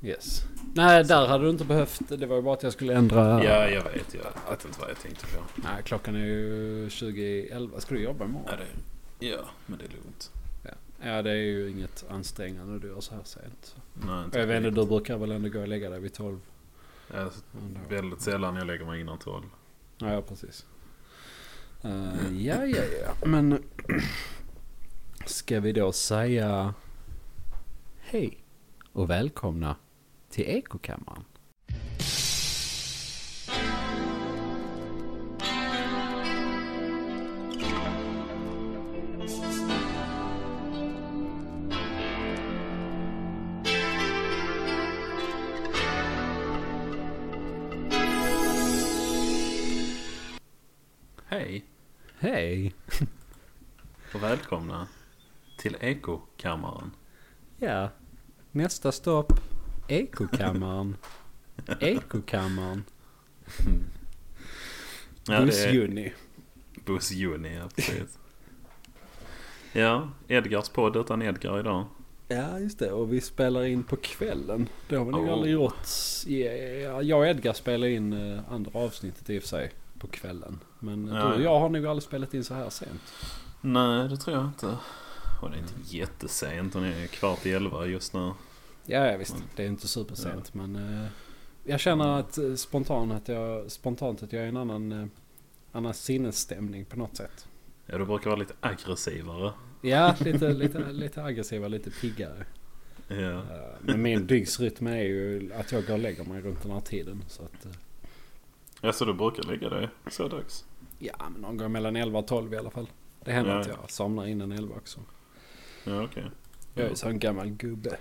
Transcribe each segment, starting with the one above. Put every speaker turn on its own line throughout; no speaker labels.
Yes. Nej, där hade du inte behövt. Det var ju bara att jag skulle ändra.
Ja, jag vet. Jag vet inte vad jag tänkte på.
Nej, klockan är ju 20.11. Ska du jobba imorgon?
Nej, det, ja, men det är lugnt.
Ja, det är ju inget ansträngande du gör så här sent.
Nej,
Och jag vet inte,
riktigt.
du brukar väl ändå gå och lägga dig vid 12?
Ja, så- väldigt sällan jag lägger mig innan tolv.
Ja, ja precis. Eh, ja, ja, ja. Men ska vi då säga hej och välkomna till Ekokammaren?
Hej
Hej!
och välkomna till Ekokammaren.
Ja, nästa stopp. Ekokammaren. Ekokammaren.
Ja, det är-
Buss-Juni.
Buss Juni, ja precis. ja, Edgars podd utan Edgar idag.
Ja, just det. Och vi spelar in på kvällen. Det har vi nog
Oh.
aldrig gjort. Ja, Jag och Edgar spelar in eh, andra avsnittet i och för sig på kvällen. Men eh,
Ja,
du och
ja.
jag har nog aldrig spelat in så här sent.
Nej, det tror jag inte. Och det är inte jättesent. Hon är kvart i elva just nu.
Ja, ja visst. Det är inte supersent. Men eh, jag känner att eh, spontant att jag, spontant att jag är i en annan, eh, annan sinnesstämning på något sätt.
Ja, du brukar vara lite aggressivare.
Ja, lite, lite, lite aggressivare, lite piggare.
Ja,
Eh, Men min dygnsrytm är ju att jag går och lägger mig runt den här tiden. Så att, eh,
ja så du brukar lägga dig så dags?
Ja, men någon gång mellan 11 och 12 i alla fall. Det händer
Ja.
att jag somnar innan 11 också.
Ja, okej.
Jag är ju så en gammal gubbe.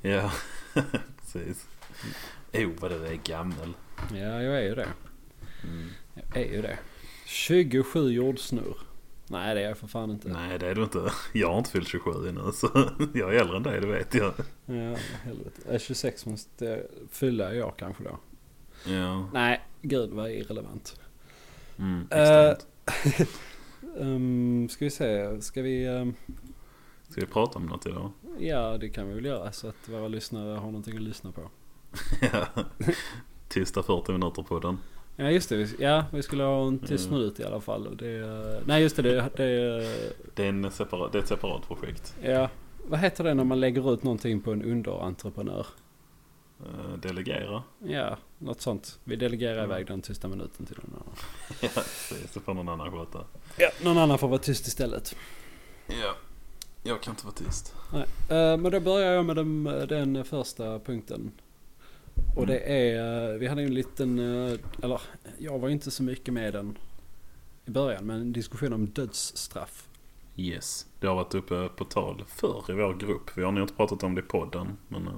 Ja, precis. Jo, vad du är gammal.
Ja, jag är ju det.
Mm.
Jag är ju det. 27 jordsnurr. Nej, det är jag för fan inte.
Nej, det är du inte. Jag har inte fyllt 27 ännu, så jag är äldre än dig, det vet jag.
Ja, helvete. Jag är 26 måste jag fylla i år kanske då.
Ja,
Nej, gud vad irrelevant.
mm, just
Eh.
det.
Um, ska vi se, ska vi... ehm,
Ska vi prata om något idag?
ja, det kan vi väl göra så att våra lyssnare har någonting att lyssna på.
Ja. Tysta 40 minuter på den.
Ja just det, Vi- ja vi skulle ha en tyst
Mm.
minut i alla fall. och Det, eh, nej just det, det, det
Det är, en separat, det är ett separat projekt.
Ja, vad heter det när man lägger ut någonting på en underentreprenör?
Eh, Delegera.
Ja, något sånt. Vi delegerar
Mm.
iväg den tysta minuten till någon annan.
Ja, precis. Det får någon annan sköta.
Ja, någon annan får vara tyst istället.
Ja, jag kan inte vara tyst.
Nej. eh, Men då börjar jag med den, den första punkten. Och det
Mm.
är, eh, vi hade ju en liten, eh, eller jag var ju inte så mycket med den i början, men en diskussion om dödsstraff.
Yes. Det har varit uppe på tal förr i vår grupp. Vi har nog inte pratat om det i podden. Men eh,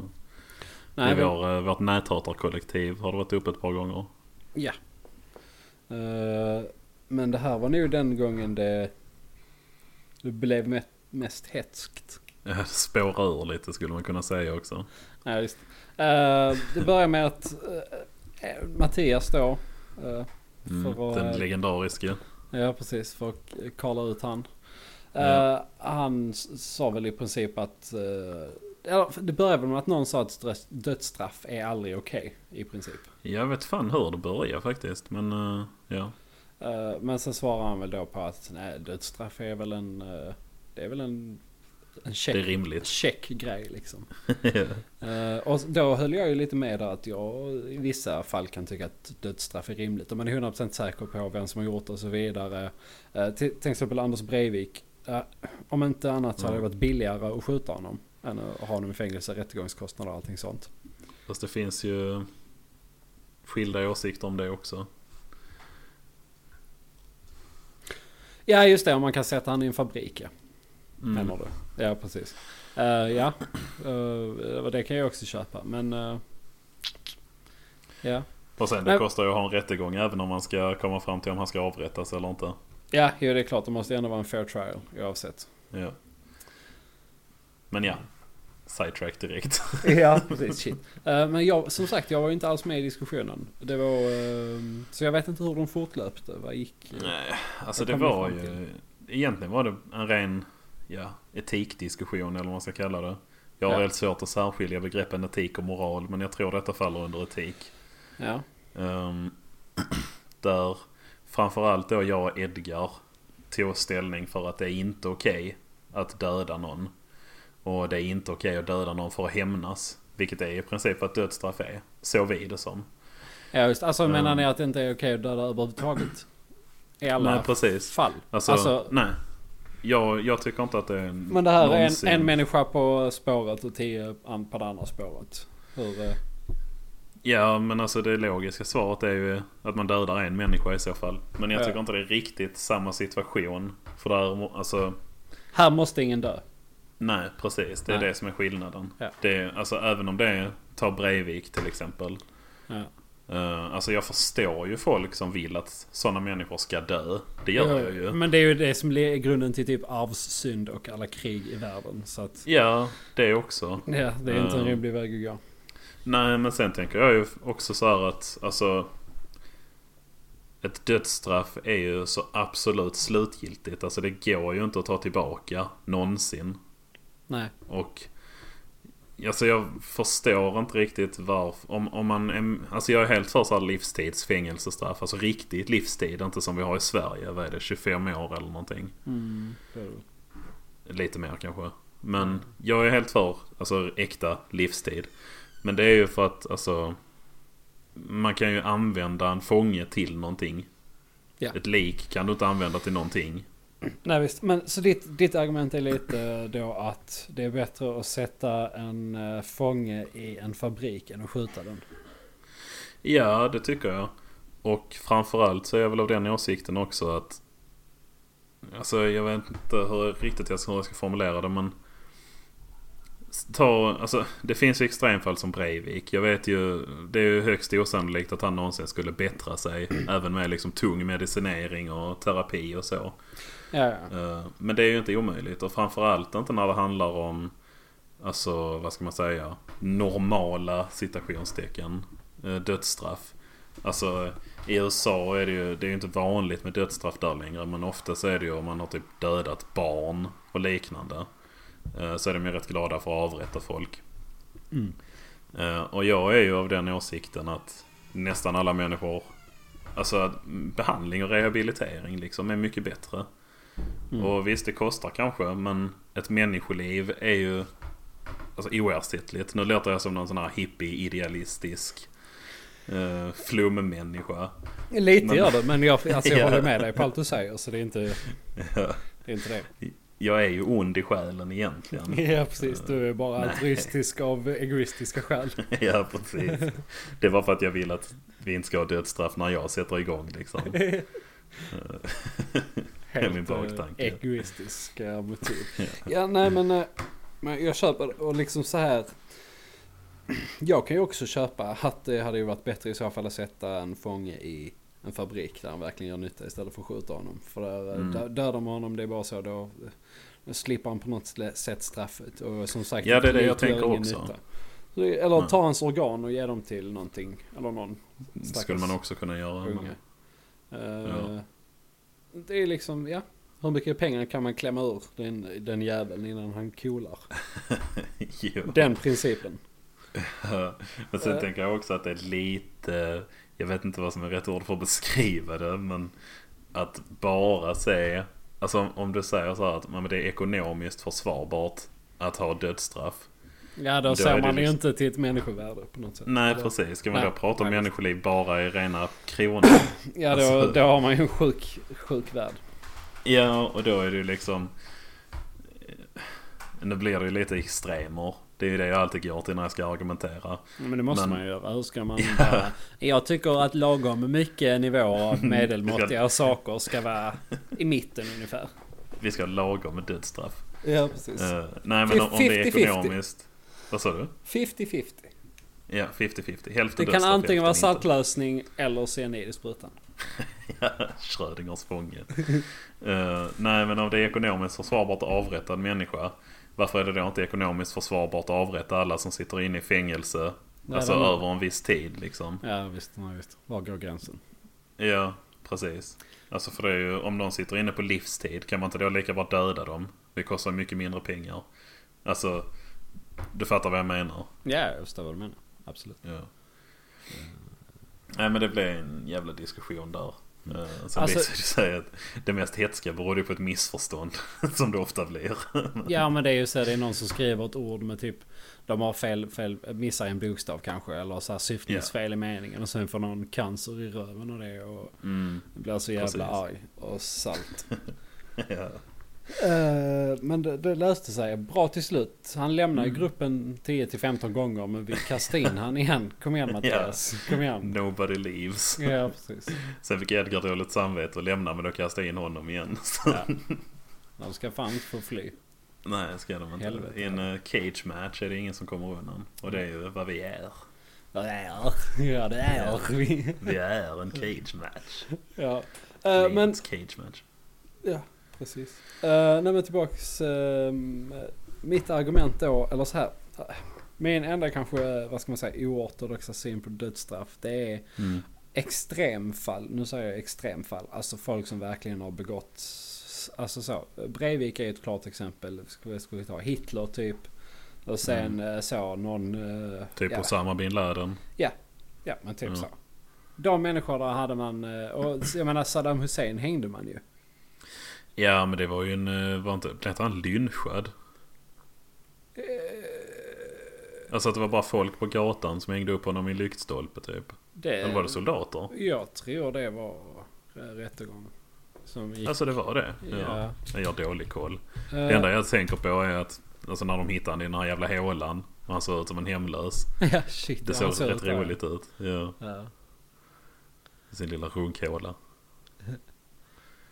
Nej,
i
vi-
vår, eh, vårt näthatarkollektiv har det varit uppe ett par gånger.
Eh, men det här var nog den gången det, det blev me- mest hetskt.
Eh, Spåra ur lite skulle man kunna säga också.
Ja, just. Eh, det börjar med att eh, Mattias då. eh,
Mm,
För att, eh,
den legendariska.
ja, precis. För att kalla ut han. Eh,
Ja.
Han s- sa väl i princip att... eh, eller, det började väl med att någon sa att stress- dödsstraff är aldrig okej i princip.
Jag vet fan hur det börjar faktiskt. Men eh, ja.
Eh, men sen svarar han väl då på att nej, dödsstraff är väl en... eh, det är väl en... En check,
Det är rimligt.
check grej liksom. Eh, och då höll jag ju lite med där att jag i vissa fall kan tycka att dödsstraff är rimligt. Om man är 100% säker på vem som har gjort det och så vidare. Eh, till, till exempel Anders Breivik. Eh, om inte annat så hade det varit billigare att skjuta honom. Än att ha honom i fängelse, rättegångskostnader och allting sånt.
Fast det finns ju skilda åsikter om det också.
Ja just det, om man kan sätta han i en fabrik ja.
Mm.
Menar du? Ja precis. Eh, ja, Eh, och det kan jag också köpa. Men... eh, ja.
Och sen det
Nej.
kostar ju att ha en rättegång även om man ska komma fram till om han ska avrättas eller inte.
Ja, jo, det är klart. Det måste ändå vara en fair trial oavsett.
Ja. Men ja. Sidetrack direkt.
Ja, precis. Shit. Eh, Men jag, som sagt, jag var ju inte alls med i diskussionen. Det var, eh, så jag vet inte hur de fortlöpte. Vad gick? eh,
Nej, alltså
Vad
det
kom ni
var
fram
ju... Egentligen var det en ren ja, etikdiskussion eller vad man ska kalla det. Jag har
Ja.
helt svårt att särskilja begreppen etik och moral men jag tror detta faller under etik.
Ja.
Ehm, där framförallt då jag och Edgar tog ställning för att det är inte okej att döda någon. Och det är inte okej att döda någon för att hämnas. Vilket är i princip vad dödsstraff är. Så vi det som.
ja just Alltså menar
Mm.
ni att det inte är okej att döda överhuvudtaget? I alla
Nej precis.
fall?
Alltså,
Alltså-
nej. Jag, jag tycker inte att det är en,
Men det här är
någonsin-
en, en människa på spåret och tio an- på det andra spåret. Hur, eh,
Ja men alltså det logiska svaret är ju att man dödar en människa i så fall. Men jag
Ja.
tycker inte det är riktigt samma situation. För där, må- alltså
här måste ingen dö.
nej precis. Det är
Nej.
det som är skillnaden.
Ja.
Det är, alltså även om det är, ta Breivik till exempel.
Ja.
Eh, alltså jag förstår ju folk som vill att sådana människor ska dö. Det gör jag ju.
Men det är ju det som är grunden till typ arvssynd och alla krig i världen. Så att,
Ja, det också.
ja, det är inte en
Ja.
rimlig väg att gå.
Nej, men sen tänker jag ju också så här att alltså ett dödsstraff är ju så absolut slutgiltigt. Alltså det går ju inte att ta tillbaka någonsin.
Nej.
Och alltså jag förstår inte riktigt varför. Om, om man är, alltså jag är helt för så här livstidsfängelsestraff. Alltså riktigt livstid, inte som vi har i Sverige. Vad är det, 25 år eller någonting? Mm,
Det är det.
Lite mer kanske. Men jag är helt för alltså, äkta livstid. Men det är ju för att alltså, man kan ju använda en fånge till någonting.
Ja.
Ett lik kan du inte använda till någonting.
Nej visst, men så ditt, ditt argument är lite eh, då att det är bättre att sätta en eh, fånge i en fabrik än att skjuta den.
Ja, det tycker jag. Och framförallt så är jag väl av den åsikten också att... Alltså jag vet inte hur riktigt jag ska, hur jag ska formulera det men... Ta, alltså, det finns ju extremfall som Breivik. Jag vet ju, det är ju högst osannolikt att han någonsin skulle bättra sig. även med liksom tung medicinering och terapi och så.
Ja, ja.
Eh, Men det är ju inte omöjligt och framförallt inte när det handlar om Alltså vad ska man säga Normala citationstecken eh, Dödsstraff Alltså i USA är det ju Det är ju inte vanligt med dödsstraff där längre Men ofta så är det ju om man har typ dödat barn Och liknande eh, Så är de ju rätt glada för att avrätta folk
Mm.
Eh, Och jag är ju av den åsikten att Nästan alla människor Alltså att mm, behandling och rehabilitering liksom är mycket bättre
Mm.
och visst, det kostar kanske, men ett människoliv är ju alltså, oersättligt. Nu låter jag som någon sån här hippie-idealistisk eh, flummänniska.
Lite
Men-
gör det, men jag, alltså, jag
Ja.
håller med dig på allt du säger så det är inte, det. Är inte det.
Jag är ju ond i själen egentligen.
Ja precis, du är bara
Nej.
altruistisk av egoistiska skäl.
ja, precis. Det var för att jag vill att vi inte ska ha dödsstraff när jag sätter igång liksom. är min
Helt eh,
baktanke.
egoistiska motiv. Ja nej men, eh, men jag köper det. och liksom så här. Jag kan ju också köpa att det hade ju varit bättre i så fall att sätta en fånge i en fabrik där han verkligen gör nytta istället för att skjuta honom. För där, eh,
Mm.
dö- dödar man honom, det är bara så då, då slipper han på något slä- sätt straffet. Och som sagt,
Ja, det är det
lik
jag
gör
tänker
ingen
också.
Så, Eller
Ja.
ta hans organ och ge dem till någonting. Eller någon
Det skulle man också kunna göra. men-
unge. Eh, Det är liksom, ja. Hur mycket pengar kan man klämma ur den, den jäveln innan han kolar?
Jo.
Den principen.
Ja, Men sen
Eh.
tänker jag också att det är lite, jag vet inte vad som är rätt ord för att beskriva det, men att bara se, alltså om, om du säger så här att "Ja, men det är ekonomiskt försvarbart att ha dödsstraff.
Ja, då,
Då är
ser
det
man ju
liksom-
inte till ett människovärde på något sätt.
Nej
Eller-
precis, ska man
Nej.
då prata om
Nej,
människoliv bara i rena kronor?
Ja, då,
Alltså-
då har man ju en sjuk, sjuk värld.
ja, och då är det ju liksom, eh, nu blir det ju lite extremer. Det är ju det jag alltid går till när jag ska argumentera.
Men det måste
Men-
man ju göra. Hur ska man... Bara... Jag tycker att lagom mycket nivåer av medelmåttiga saker ska vara i mitten ungefär.
Vi ska ha lagom med dödsstraff.
Ja, precis.
Eh, nej men om, om det är
50-50.
ekonomiskt. Vad sa du?
50-50.
Ja, 50-50. Hälften
Det kan antingen
dödsstraff,
vara
hälften inte.
saltlösning eller cyanid i sprutan.
Ja, Schrödingers fånge. Eh, nej, men om det är ekonomiskt försvarbart att avrätta en människa. Varför är det då inte ekonomiskt försvarbart att avrätta alla som sitter inne i fängelse?
Nej,
alltså
det är-
över en viss tid liksom.
Ja visst, nej, visst. Var går gränsen?
Ja, precis. Alltså för det är ju, om de sitter inne på livstid kan man inte då lika bra döda dem? Det kostar mycket mindre pengar. Alltså, Du fattar vad jag menar?
Ja, jag förstår vad du menar. Absolut.
Ja. Nej men det blev en jävla diskussion där. Mm. Sen
Alltså-
visade det sig att det mest hetska berodde på ett missförstånd. Som det ofta blir.
Ja men det är ju så här, det är någon som skriver ett ord med typ De har fel, fel missar en bokstav kanske eller så här syftningsfel i meningen och sen får någon cancer i röven och det och
Mm.
blir så jävla
Precis.
arg och salt.
Ja.
Eh, men det, det löste sig bra till slut. Han lämnade
Mm.
gruppen 10-15 gånger men vi kastade in han igen. Kom igen Mattias, kom igen.
Nobody leaves.
Ja precis.
Sen fick Edgar dåligt samvete och lämnade men då kastade jag in honom igen. Så,
Ja. De ska fan inte få fly.
Nej, ska de inte.
Helvete.
I en eh, cage match är det ingen som kommer undan. Och det är ju vad vi är.
Ja det är, ja, det är. vi.
Vi är en cage match.
Ja. Eh, men
Lions cage match.
Ja, precis. Uh, nej men tillbaks. ehm, eh, mitt argument då, eller så här. eh, Min enda kanske, eh, vad ska man säga, oortodoxa syn på dödsstraff. Det är
Mm.
extremfall. Nu säger jag extremfall. Alltså folk som verkligen har begått. Alltså så. Breivik är ett klart exempel. Ska vi, ska vi ta Hitler typ. Och sen eh, så någon... eh,
Mm. Typ
ja,
Osama bin Laden.
ja men typ
Ja.
så. De människor där hade man. eh, Och jag menar Saddam Hussein hängde man ju.
Ja men det var ju en, eh, var inte, blev inte han lynchad?
Eh,
Alltså att det var bara folk på gatan som hängde upp honom i en lyktstolpe typ.
Det,
Eller var det soldater?
Jag tror det var eh, rättegång. Som gick.
Alltså det var det?
Ja.
Ja. Jag har dålig koll. Det
Eh,
enda jag tänker på är att alltså när de hittade honom i den här jävla hålan och han såg ut som en hemlös.
ja, shit,
Det
ja,
såg
han såg
rätt
ut där.
roligt ut. Ja,
Ja.
sin lilla runkhåla.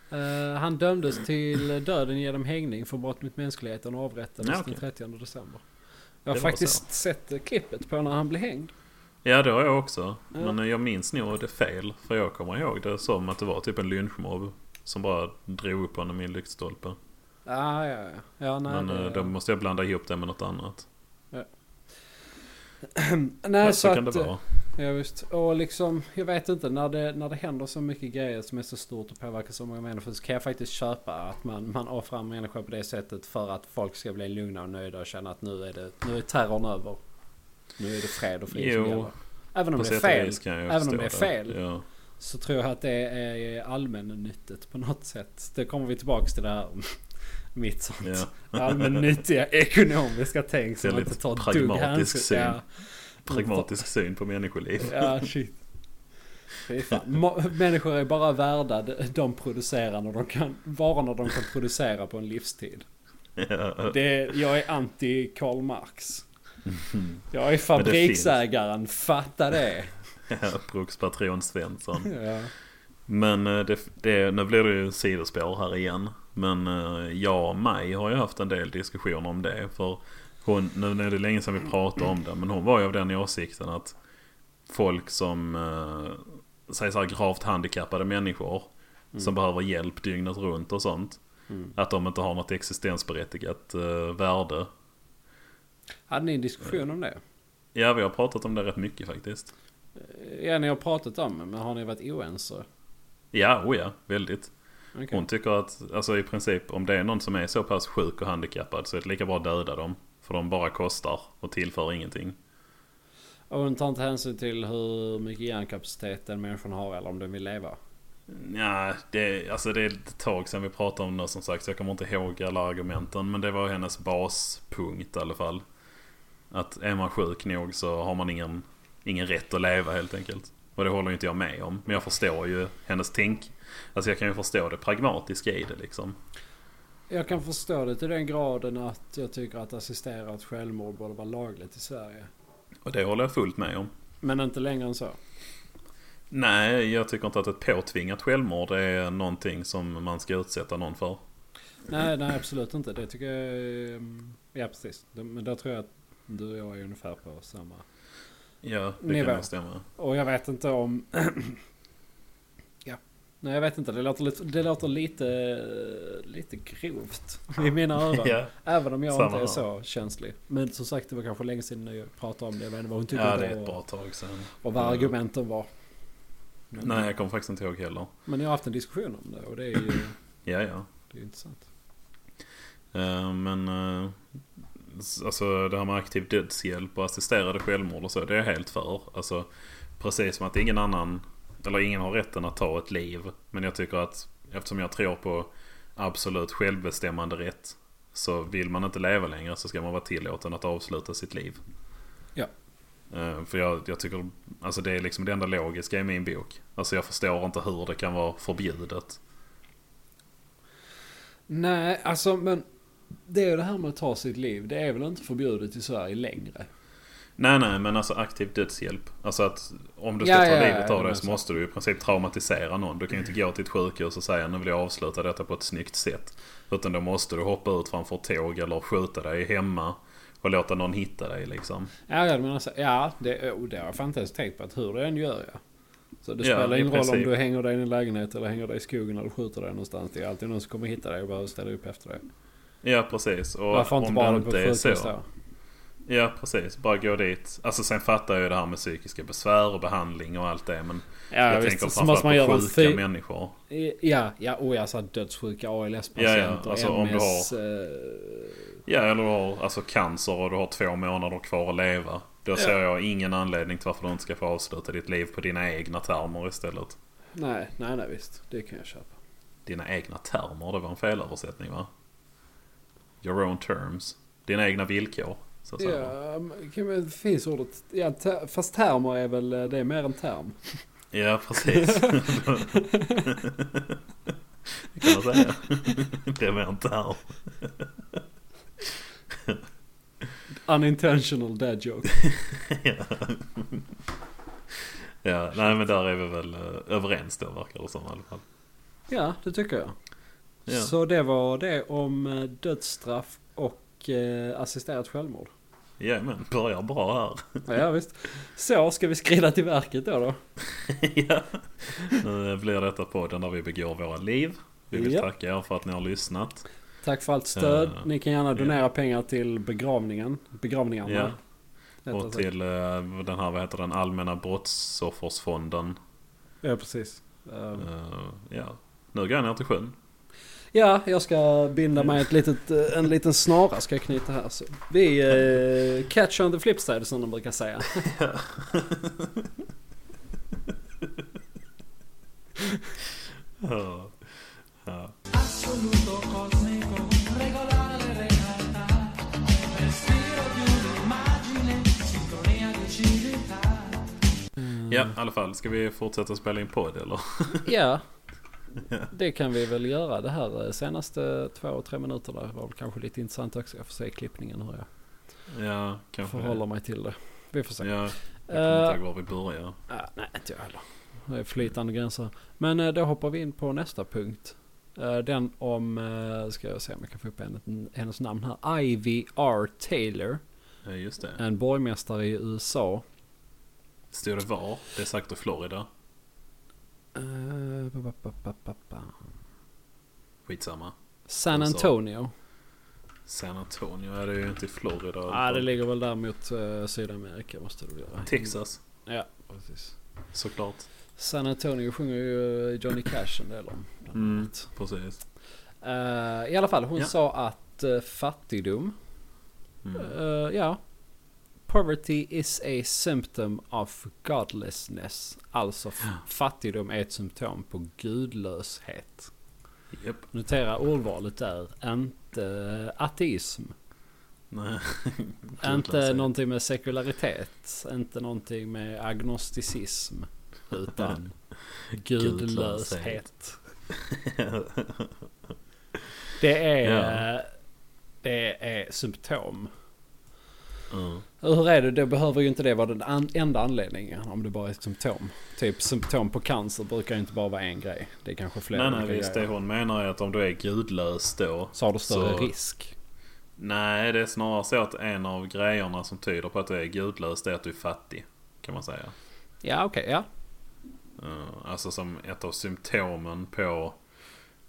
Eh, han dömdes till döden genom hängning för brott mot mänskligheten och avrättades
Ja, okej.
den 30 december. Jag har
Det var
faktiskt sett eh, klippet på när han blev hängd.
Ja det har jag också.
Ja.
Men jag minns nog det fel. För jag kommer ihåg det som att det var typ en lynchmobb. Som bara drog upp honom i en lyktstolpe.
Ah, ja, ja. ja nej,
Men
det,
eh, då måste jag blanda ihop det med något annat.
nej,
Ja,
så,
så kan
att, eh,
det vara.
Ja, visst. Och liksom, jag vet inte, när det, när det händer så mycket grejer som är så stort och påverkar så många människor så kan jag faktiskt köpa att man, man offrar människor på det sättet för att folk ska bli lugna och nöjda och känna att nu är, det, nu är terrorn över. Nu är det fred och frid som
Jo,
gäller. Även om
På
det är
sätt och
fel
vis kan jag
även om
förstå
det är fel.
Ja.
så tror jag att det är allmännyttigt på något sätt. Det kommer vi tillbaks till det här mitt sånt
Ja.
allmännyttiga ekonomiska tänk som
Väldigt
inte tar ett dugg
pragmatisk
hänsyn.
syn.
Ja.
Pragmatisk syn på människoliv.
Ja, shit. Fy fan. Ma- Människor är bara värda de- de producerar när de kan, varorna de kan producera på en livstid.
Ja.
Det, jag är anti Karl Marx. Jag är
Men det finns.
fabriksägaren, fatta det.
Ja, Brukspatron Svensson.
Ja.
Men eh, det, det, nu blir det ju sidospår här igen. Men eh, jag och Maj har ju haft en del diskussioner om det. För hon, nu är det länge sedan vi pratade om det. Men hon var ju av den åsikten att folk som eh, säg så här, gravt handikappade människor. Som behöver hjälp dygnet runt och sånt. Att de inte har något existensberättigat eh, värde.
Hade ni en diskussion om det?
Ja, vi har pratat om det rätt mycket faktiskt.
Ja, ni har pratat om det, men har ni varit oense?
Ja, oh ja, väldigt.
Okej.
Hon tycker att alltså, i princip om det är någon som är så pass sjuk och handikappad så är det lika bra att döda dem. För de bara kostar och tillför ingenting.
Och hon tar inte hänsyn till hur mycket hjärnkapacitet den människan har eller om den vill leva?
Nja, det, alltså det är ett tag sedan vi pratade om det som sagt så jag kommer inte ihåg alla argumenten. Men det var hennes baspunkt i alla fall. Att är man sjuk nog så har man ingen, ingen rätt att leva helt enkelt. Och det håller ju inte jag med om. Men jag förstår ju hennes tänk. Alltså jag kan ju förstå det pragmatiska i det liksom.
Jag kan förstå det till den graden att jag tycker att assisterat självmord borde vara lagligt i Sverige.
Och det håller jag fullt med om.
Men inte längre än så.
Nej, jag tycker inte att ett påtvingat självmord är någonting som man ska utsätta någon för.
Nej, nej absolut inte. Det tycker jag... är, mm, Ja, precis. Det- Men där tror jag att du och jag är ungefär på samma.
Ja, det
Nivå.
kan nog stämma.
Och jag vet inte om... ja. Nej, jag vet inte. Det låter lite, det låter lite, lite grovt i mina öron.
Ja.
Även om jag
Samma
inte är
här.
så känslig. Men som sagt, det var kanske länge sedan jag pratade om det. Jag vet inte vad hon tyckte
ja,
om
det
det
är ett bra
och,
tag sedan.
och vad argumenten var.
Nej, jag kommer faktiskt inte ihåg heller.
Men jag har haft en diskussion om det och det är ju
Ja, ja.
det är ju intressant.
Eh, Men eh, alltså det här med aktiv dödshjälp och assisterade självmord och så, det är jag helt för. Alltså, precis som att ingen annan, eller ingen har rätten att ta ett liv. Men jag tycker att eftersom jag tror på absolut självbestämmande rätt så vill man inte leva längre så ska man vara tillåten att avsluta sitt liv.
Ja.
Eh, För jag, jag tycker, alltså det är liksom det enda logiska i min bok. Alltså jag förstår inte hur det kan vara förbjudet.
Nej, alltså men det är ju det här med att ta sitt liv. Det är väl inte förbjudet i Sverige längre?
Nej, nej, men alltså aktiv dödshjälp. Alltså att om du
Ja,
ska ta
ja, ja,
livet
jag
av
menar
dig
så.
så måste du i princip traumatisera någon. Du kan ju inte gå till ett sjukhus och säga nu vill jag avsluta detta på ett snyggt sätt. Utan då måste du hoppa ut framför ett tåg eller skjuta dig hemma och låta någon hitta dig liksom.
Ja, jag menar så, ja det, oh, det har jag fan inte ens tänkt på att hur det än gör jag. Så det
Ja,
spelar
i
ingen roll om
princip.
du hänger dig i en lägenhet eller hänger dig i skogen eller skjuter dig någonstans. Det är alltid någon som kommer hitta dig och behöver ställa upp efter dig.
Ja, precis. Och
Varför inte
om
bara
det
på
inte är
sjukhus
så.
då?
Ja, precis. Bara gå dit. Alltså sen fattar jag ju det här med psykiska besvär och behandling och allt det. Men
Ja,
jag
visst.
tänker
Så måste man
framförallt
göra
på
en
sjuka
fi-
människor.
Ja, ja, oh, ja, så här dödssjuka
Ja, ja,
ALS-patienter,
alltså, om du
MS. eh,
Ja, eller du har alltså cancer och du har två månader kvar att leva. Då ser jag ingen anledning till varför du inte ska få avsluta ditt liv på dina egna termer istället.
nej, nej, nej, visst. Det kan jag köpa.
Dina egna termer, det var en felöversättning va? Your own terms. Dina egna villkor, så att säga.
Ja, men kan man- finns ordet... Ja, ter, fast termer är väl... eh, Det är mer en term.
Ja, precis. Det kan man säga. Det är mer en term.
Unintentional dad joke.
Ja, nej men där är vi väl eh, överens då verkar det som i alla fall.
Ja, det tycker jag.
Ja.
Så det var det om eh, dödsstraff och eh, assisterat självmord.
Jajamän, börjar bra här.
Ja, visst. Så, ska vi skrida till verket då då?
ja. Nu blir detta podden där vi begår våra liv. Vi vill
Ja.
tacka er för att ni har lyssnat.
Tack för allt stöd.
Eh,
Ni kan gärna donera pengar till begravningen. Begravningarna.
Ja.
rättare
Och
sagt.
till eh, den här, vad heter den, allmänna brottsoffersfonden.
Ja, precis. Eh,
Eh, ja. Nu går jag ner till sjön.
Ja, jag ska binda mig ett litet, eh, en liten snara ska jag knyta här. Så. Vi eh, catch on the flip side som de brukar säga.
Ja.
Mm.
Ja.
assoluto cosmico, regolare realtà, respiro di un'immagine, sintonia di civiltà.
ja, i alla fall. Ska vi fortsätta spela in podd eller?
Ja, det kan vi väl göra. Det här eh, senaste två, och tre minuterna var väl kanske lite intressant också. Jag får se i klippningen hur jag
Ja, kanske
förhåller
det.
mig till det. Vi får se.
Ja, jag kommer
Eh,
inte ihåg var vi börjar.
ah, nej, inte jag heller. Det är flytande gränser. Men eh, då hoppar vi in på nästa punkt. Eh, Den om, eh, ska jag se om jag kan få upp henne- hennes namn här. Ivy R. Taylor.
Ja, just det.
En borgmästare i USA.
Stod det var? Det är säkert Florida.
Eh, ba, ba, ba, ba, ba, ba.
Skitsamma.
San
USA.
Antonio.
San Antonio är det ju inte i Florida. i alla
Ja, ah, det
fall.
ligger väl där mot eh, Sydamerika måste det väl göra.
Texas,
Ja, precis.
såklart.
San Antonio sjunger ju eh, Johnny Cash en del om. bland
Mm.
annat.
Precis.
Eh, I alla fall, hon
Ja.
sa att eh, fattigdom,
Mm.
eh, ja. Poverty is a symptom of godlessness. Alltså f- fattigdom är ett symptom på gudlöshet.
Japp.
Notera ordvalet där, inte eh, ateism.
Nej.
Inte
Gudlöshet.
någonting med sekularitet, inte någonting med agnosticism. Utan gudlöshet. Det är,
Ja.
det är symptom.
Mm.
Hur är det? Det behöver ju inte det vara den an- enda anledningen om det bara är ett symptom. Typ symptom på cancer brukar ju inte bara vara en grej. Det är kanske flera
Nej, nej,
olika
visst. Det
grejer.
hon menar är att om du är gudlös då.
Så har du större
Så-
risk.
Nej, det är snarare så att en av grejerna som tyder på att du är gudlös det är att du är fattig. Kan man säga.
Ja, okej, ja.
Eh, Alltså som ett av symptomen på...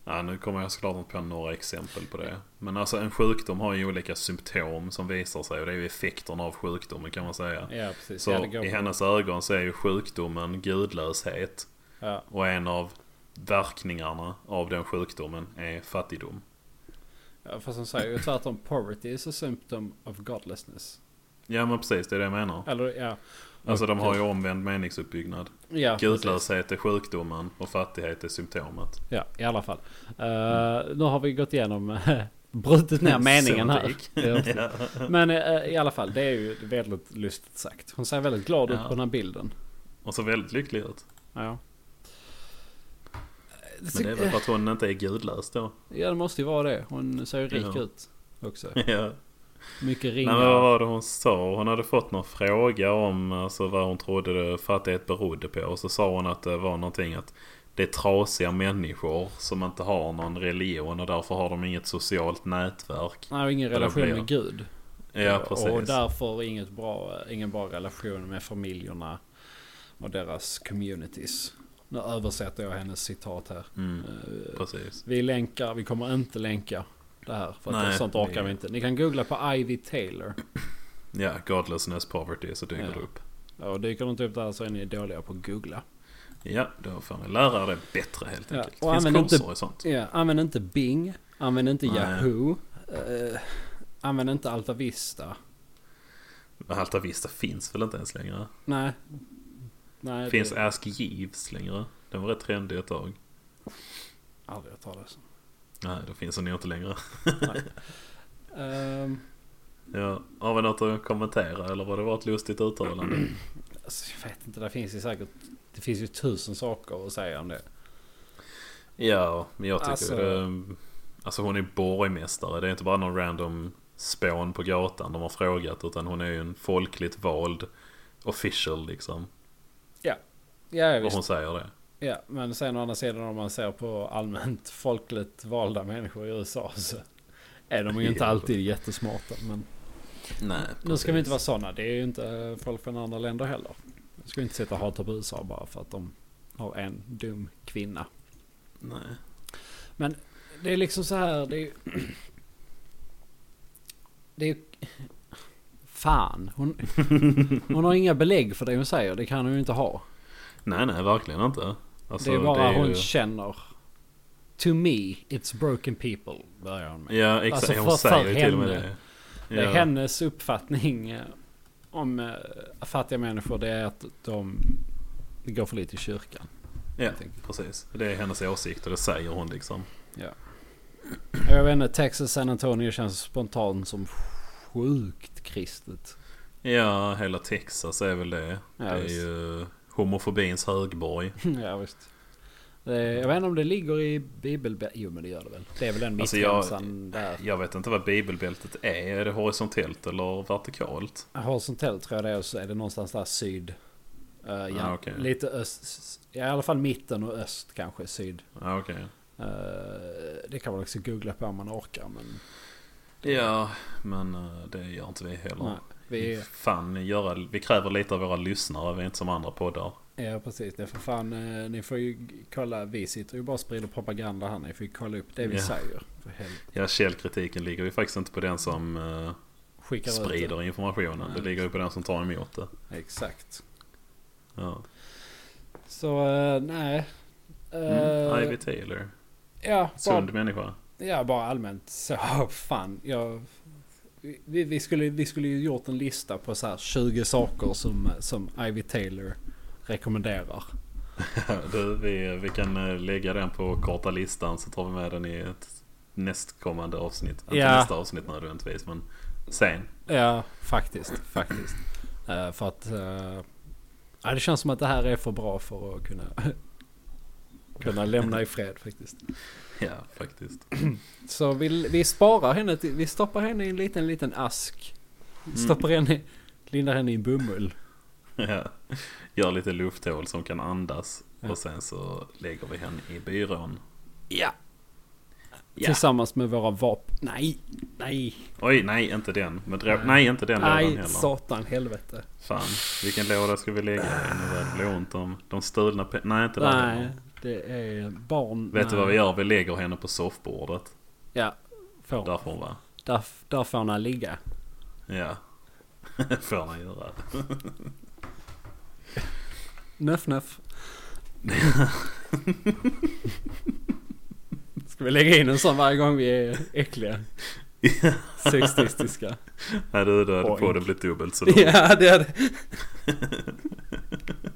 Ja, nu kommer jag såklart inte på några exempel på det. Men alltså en sjukdom har ju olika symptom som visar sig och det är ju effekterna av sjukdomen kan man säga.
Ja, precis.
Så
ja, det går
i
bra.
hennes ögon så är ju sjukdomen gudlöshet.
ja.
Och en av verkningarna av den sjukdomen är fattigdom.
Ja, fast de säger ju tvärtom poverty is a symptom of godlessness.
Ja men precis, det är det jag menar.
Eller ja.
Alltså de har ju omvänd meningsuppbyggnad.
ja precis.
Gudlöshet är sjukdomen och fattighet är symptomet.
Ja, i alla fall. Eh, nu har vi gått igenom, brutit ner meningen här.
Semantik.
Ja, precis. Men eh, i alla fall, det är ju väldigt lustigt sagt. Hon ser väldigt glad ut
Ja.
på den här bilden.
Och så väldigt lycklig ut.
Ja.
Men
Alltså,
det är väl för att hon inte är gudlös då.
Ja, det måste ju vara det. Hon ser ju rik
Ja.
ut också.
ja.
Mycket
Nej, men vad
ringar.
var det hon sa? Hon hade fått någon fråga om alltså, vad hon trodde det fattighet berodde på. Och så sa hon att det var någonting att det är trasiga människor som inte har någon religion och därför har de inget socialt nätverk.
Nej, och ingen
Eller
relation
blir-
med Gud.
Ja, precis.
Eh, Och därför inget bra, ingen bra relation med familjerna och deras communities. Nu översätter jag hennes citat här.
Mm,
Eh,
precis.
Vi länkar, vi kommer inte länka det här. För att
Nej,
sånt orkar
det-
vi inte. Ni kan googla på Ivy Taylor.
Ja, godlessness, poverty, så dyker
Ja.
det upp.
Ja, Och dyker de inte upp där så är ni dåliga på att googla.
Ja, då får ni lära er det bättre helt
Ja,
enkelt.
och
det finns
använd inte-
kurser och sånt.
Ja, använd inte Bing. Använd inte
Nej.
Yahoo. Eh, använd inte Alta Vista.
Alta Vista finns väl inte ens längre?
Nej. Nej
Finns
det...
Ask Jeeves längre? Den var rätt trendig ett tag.
Aldrig hört talas om.
Nej, då finns den ju inte längre.
Ehm,
Ja, har vi något att kommentera eller var det bara ett lustigt uttalande?
alltså, jag vet inte, det finns ju säkert... Det finns ju tusen saker att säga om det.
Ja, men jag tycker
Alltså-
det, Alltså hon är borgmästare. Det är inte bara någon random spån på gatan de har frågat. Utan hon är ju en folkligt vald official liksom.
Ja, ja,
Och
visst.
hon säger det.
Ja, men sen å andra sidan om man ser på allmänt folkligt valda människor i USA så är de ju inte
Ja.
alltid jättesmarta. Men
Nej,
nu ska vi inte vara sådana. Det är ju inte folk från andra länder heller. Jag ska inte sitta och hata på USA bara för att de har en dum kvinna.
Nej.
Men det är liksom så här. Det är ju... Det är ju... Fan. Hon, hon har inga belägg för det hon säger. Det kan hon ju inte ha.
nej, nej, verkligen inte. Alltså,
det är bara
ju-
hon känner. To me, it's broken people. Börjar hon med.
Ja, exakt.
Alltså, för-
hon säger
för
ju till och med
henne.
det.
Det
Ja.
är hennes uppfattning eh, om eh, fattiga människor. Det är att de går för lite i kyrkan.
Ja,
helt enkelt.
precis. Det är hennes åsikt och det säger hon liksom.
Jag vet inte, Texas San Antonio känns spontant som sjukt kristet.
Ja, hela Texas är väl det.
Ja,
det är
visst.
ju homofobins högborg.
ja visst. Det- Jag vet inte om det ligger i bibelbältet. Jo men det gör det väl. Det är väl den
Alltså, jag-
mittremsan där.
Jag vet inte vad bibelbältet är. Är det horisontellt eller vertikalt?
Horisontellt tror jag det är och så är det någonstans där syd. Eh, ja,
Ah, okej.
Lite öst. Ja, I alla fall mitten och öst kanske syd.
Ja, okej.
Eh, det kan man också googla på om man orkar. Men
Ja, men eh, det gör inte vi heller.
nej, vi,
Fan, göra, vi kräver lite av våra lyssnare. Vi är inte som andra poddar.
ja precis. Det är för fan. eh, ni får ju kolla. Vi sitter ju bara och sprider propaganda här. Ni får ju kolla upp det vi
Ja.
säger. För helvete.
Ja, källkritiken ligger ju faktiskt inte på den som eh,
Skickar ut
sprider informationen.
Nej,
Det ligger ju på den som tar emot det.
det. Exakt.
Ja.
Så eh, nej.
Mm.
Eh,
Ivy Taylor.
ja,
Sund
bara,
människa.
ja, bara allmänt så. Fan, jag, vi, vi, skulle, vi skulle ju gjort en lista på så här 20 saker som, som Ivy Taylor rekommenderar.
Du, vi, vi kan eh, lägga den på korta listan så tar vi med den i ett nästkommande avsnitt. Inte
Ja.
nästa avsnitt nödvändigtvis men sen.
Ja, faktiskt. faktiskt. Eh, för att eh, ja, det känns som att det här är för bra för att kunna, kunna lämna i fred faktiskt.
Ja, faktiskt.
Så vi, vi sparar henne, till, vi stoppar henne i en liten, liten ask. Stoppar henne, lindar henne i en bomull.
Ja. Gör lite lufthål som kan andas
Ja.
och sen så lägger vi henne i byrån.
Ja.
Ja.
Tillsammans med våra vapen. Nej, nej,
Oj, nej inte den. Men dra-
Nej.
nej. inte den lådan
nej,
heller.
satan helvete.
Fan, vilken låda ska vi lägga i nu när det blir ont om de stulna pe- Nej, inte där
Nej,
heller.
det är barn.
Vet
nej.
du vad vi gör? Vi lägger henne på soffbordet.
Ja, får,
Där
där.
får hon vara.
Där, får han ligga.
Ja. får hon göra.
Nöff, nöff. Ska vi lägga in en sån varje gång vi är äckliga? Sexistiska.
Nej du, du hade
Oink.
podden blivit dubbelt så lång.
Ja, det hade...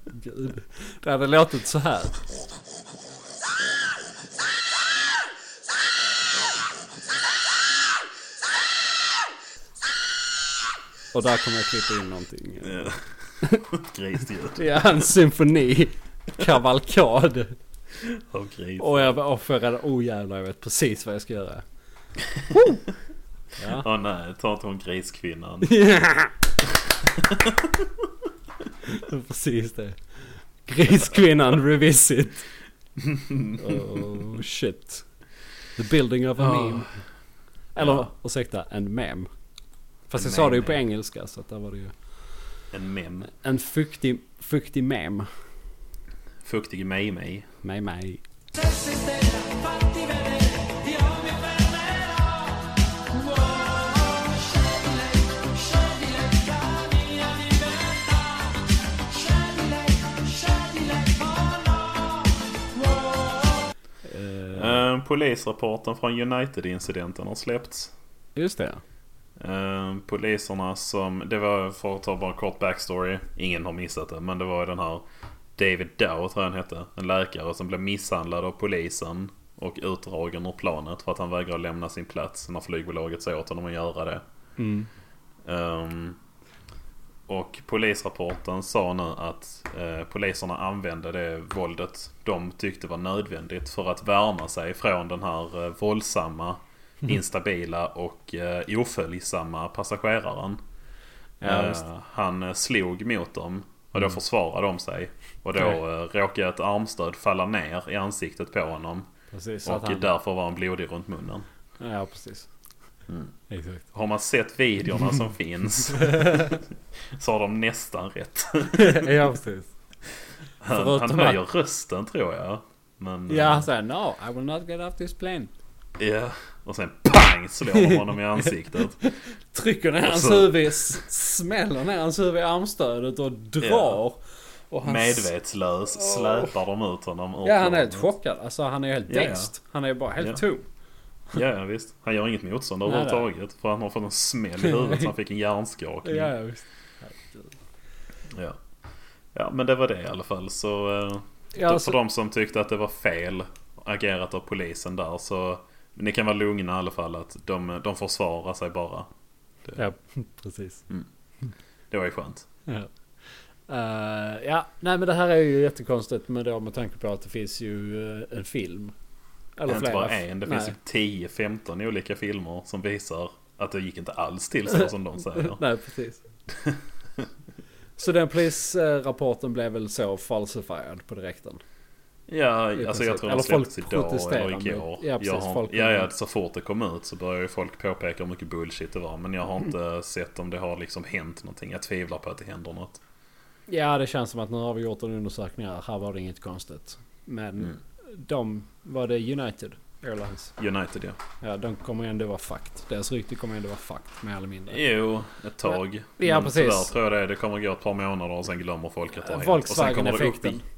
Gud. Det hade låtit så här. Och där kommer jag klippa in någonting.
Ja. Grisljud
Det är en symfoni. Kavalkad.
av gris.
Och jag var förra... Oh jävlar, jag vet precis vad jag ska göra. Ja.
Åh nej, ta inte hon griskvinnan.
Precis det. Griskvinnan revisit. Oh shit. The building of a
Ja.
meme. Eller
Ja.
ursäkta, en meme. Fast
En
jag sa det ju
meme,
på
ja.
engelska så att där var det ju.
En mem.
En fuktig, fuktig meme.
Fuktig mej-mej.
Med mig.
Sessi sera, fatti vedere, io mi fermerò. Wow, scegli lei, scegli lei la mia libertà. Scegli lei, scegli lei, oh no. Wow.
Eh,
Eh, Polisrapporten från United-incidenten har släppts.
just det.
Eh, Poliserna som, det var för att ta bara en kort backstory. Ingen har missat det men det var den här David Dow tror jag han hette. En läkare som blev misshandlad av polisen och utdragen ur planet för att han vägrade lämna sin plats när flygbolaget sa åt honom att göra det.
Mm.
Ehm, och polisrapporten sa nu att eh, poliserna använde det våldet de tyckte var nödvändigt för att värna sig från den här eh, våldsamma,
Mm.
instabila och eh, oföljsamma passageraren.
Ja,
Eh,
visst.
han eh, slog mot dem och
Mm.
då försvarade de sig. Och då
Nej.
eh, råkade ett armstöd falla ner i ansiktet på honom.
Precis. så
Och
att han-
därför var han blodig runt munnen.
Ja, precis. Exakt.
Har man sett videorna som finns så har de nästan rätt.
ja, precis.
Han, han
Förutom
höjer rösten tror jag. Men,
Ja, alltså- han säger no, I will not get off this plane.
eh, ja. Och sen pang slår de honom i ansiktet.
Trycker ner
Och
hans
så-
huvud, s- smäller ner hans huvud i armstödet och drar.
Ja.
Och han
Medvetslös släpar de ut honom ur
Ja, han är
planet.
helt chockad. Alltså han är helt
Ja, ja.
växt. Han är bara helt
Ja.
tom.
Ja, ja, visst. Han gör inget motstånd
Nej, nej.
överhuvudtaget. För han har fått en smäll i huvudet så han fick en hjärnskakning.
Ja, ja, visst.
Ja. ja, men det var det i alla fall. Så eh,
Ja,
för
alltså-
de som tyckte att det var fel agerat av polisen där så ni kan vara lugna i alla fall att de, de försvarar sig bara.
ja precis.
Det var ju skönt.
Ja. Eh, ja, nej men det här är ju jättekonstigt. Men då med tanke på att det finns ju eh, en film. Eller
det är inte
flera.
bara en, det finns
nej.
ju 10-15 olika filmer som visar att det gick inte alls till så som de säger.
Nej, precis. Så den polisrapporten blev väl så falsifierad på direkten?
Ja,
I
alltså
princip.
jag tror
Eller
den släpptes
folk
idag
protesterar
eller igår.
mot- ja, precis,
jag har,
folk-
ja, ja, så fort det kom ut så började ju folk påpeka hur mycket bullshit det var. Men jag har inte sett om det har liksom hänt någonting. Jag tvivlar på att det händer något.
Ja, det känns som att nu har vi gjort en undersökning här. Här var det inget konstigt. Men
Mm.
de, var det United Airlines?
United ja.
Ja, de kommer ändå vara fucked. Deras rykte kommer ändå vara fucked, mer eller mindre.
Jo, ett tag.
Ja,
Men
precis.
Tyvärr tror jag det. Det kommer gå ett par månader och sen glömmer folk att det har hänt. Och sen kommer det upp
Eh,
i-
Volkswagen-effekten.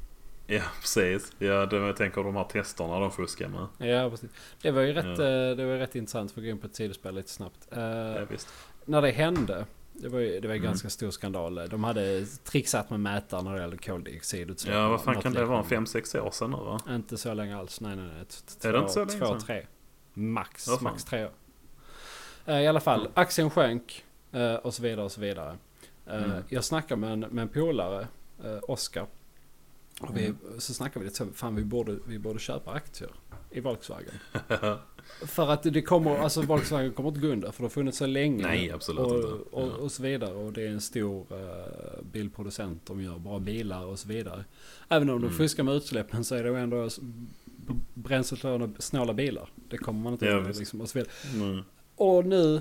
Ja, precis. Ja, det, jag tänker de här testerna de fuskar med.
Ja, precis. Det var ju rätt,
Ja.
eh, det var ju rätt intressant för att gå in på ett sidospel lite snabbt. Eh,
Ja, visst.
När det hände, det var ju det
Mm.
var ju ganska stor skandal. De hade trixat med mätaren när det gällde koldioxidutsläpp.
Ja, vad fan
Något
kan det vara?
liknande.
5-6 år sedan nu va?
Inte så länge alls. Nej, nej, nej. Ett-
Är det inte
två-
så länge
Två,
sedan?
tre. Max,
Vad fan?
max tre år. Eh, I alla fall, aktien sjönk eh, och så vidare och så vidare. Eh,
Mm.
Jag snackade med en, med en polare, eh, Oskar. Och
Mm.
vi, så snackade vi lite så, fan vi borde, vi borde köpa aktier i Volkswagen. för att det kommer, alltså Volkswagen kommer inte gå under för det har funnits så länge.
Nej, absolut
och,
inte.
Och,
Ja.
och så vidare och det är en stor eh, bilproducent, de gör bra bilar och så vidare. Även om de
Mm.
fuskar med utsläppen så är det ändå s- b- bränslesnåla snåla bilar. Det kommer man inte
Ja,
undan,
visst.
liksom, och så vidare.
Mm.
Och nu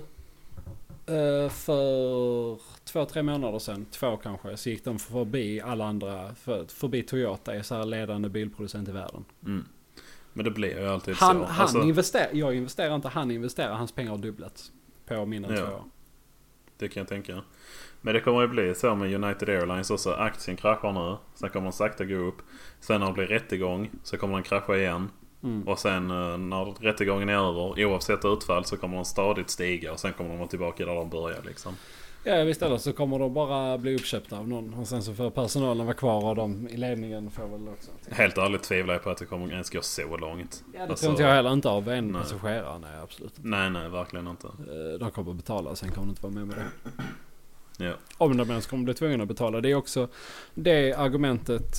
eh, för två, tre månader sedan, två kanske, så gick de förbi alla andra, för, förbi Toyota är så här ledande bilproducent i världen.
Mm. Men det blir ju alltid
Han,
så. alltså-
han investerar, jag investerar inte, han investerar, hans pengar har dubblats på mindre än
Ja.
två år.
det kan jag tänka. Men det kommer ju bli så med United Airlines också. Aktien kraschar nu. Sen kommer den sakta gå upp. Sen när det blir rättegång så kommer den krascha igen.
Mm.
Och sen eh, när rättegången är över, oavsett utfall, så kommer de stadigt stiga och sen kommer de vara tillbaka där de börjar liksom.
Ja visst eller så kommer de bara bli uppköpta av någon. Och sen så får personalen vara kvar och de i ledningen får väl också.
Helt ärligt tvivlar jag på att det kommer ens gå så långt.
Ja det
Alltså,
tror inte jag heller inte av en
nej.
passagerare. Nej absolut.
Nej, nej, verkligen inte.
Eh, De kommer betala och sen kommer de inte vara med med det.
Ja.
Om de ens kommer bli tvungna att betala. Det är också det argumentet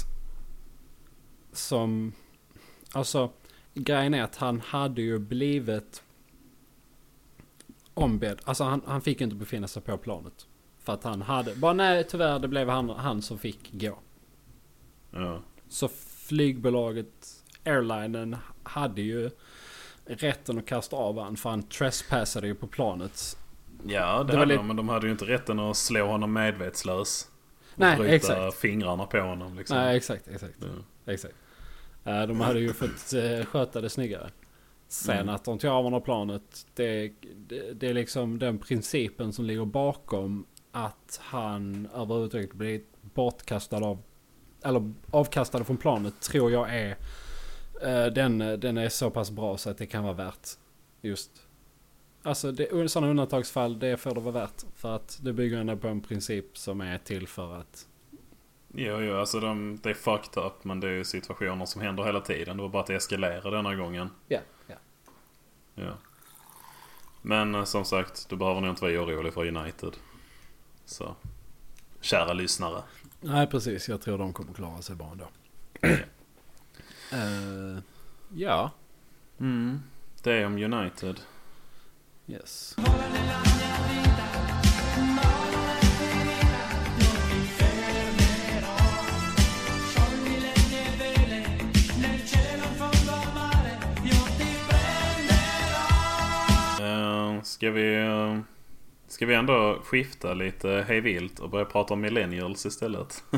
som... Alltså, grejen är att han hade ju blivit ombedd. Alltså han, han fick ju inte befinna sig på planet. För att han hade... Bara nej, tyvärr det blev han, han som fick gå.
ja.
Så flygbolaget, airlinen, hade ju rätten att kasta av han för han trespassade ju på planet.
Ja, det,
var
hade
lite-
de, men de hade ju inte rätten att slå honom medvetslös. Och
Nej,
bryta
exakt.
fingrarna på honom liksom.
Nej, exakt, exakt.
Ja.
Exakt. Eh, De hade ju fått eh, sköta det snyggare. Sen
Mm.
att de tog av honom planet. Det, det, det är liksom den principen som ligger bakom att han överhuvudtaget blir bortkastad av. Eller avkastad från planet tror jag är. eh, Den, den är så pass bra så att det kan vara värt. Just. Alltså det, sådana undantagsfall det får det vara värt. För att det bygger ändå på en princip som är till för att.
Jo, jo, alltså de, det är fucked up men det är ju situationer som händer hela tiden. Det var bara att det eskalerade denna gången.
Ja, ja.
Ja. Men eh, som sagt, du behöver nog inte vara orolig för United. Så. Kära lyssnare.
Nej, precis. Jag tror de kommer klara sig bra ändå. Eh, ja.
Mm. Det är om United.
Yes.
Eh, ska vi... eh, ska vi ändå skifta lite hejvilt och börja prata om millennials istället?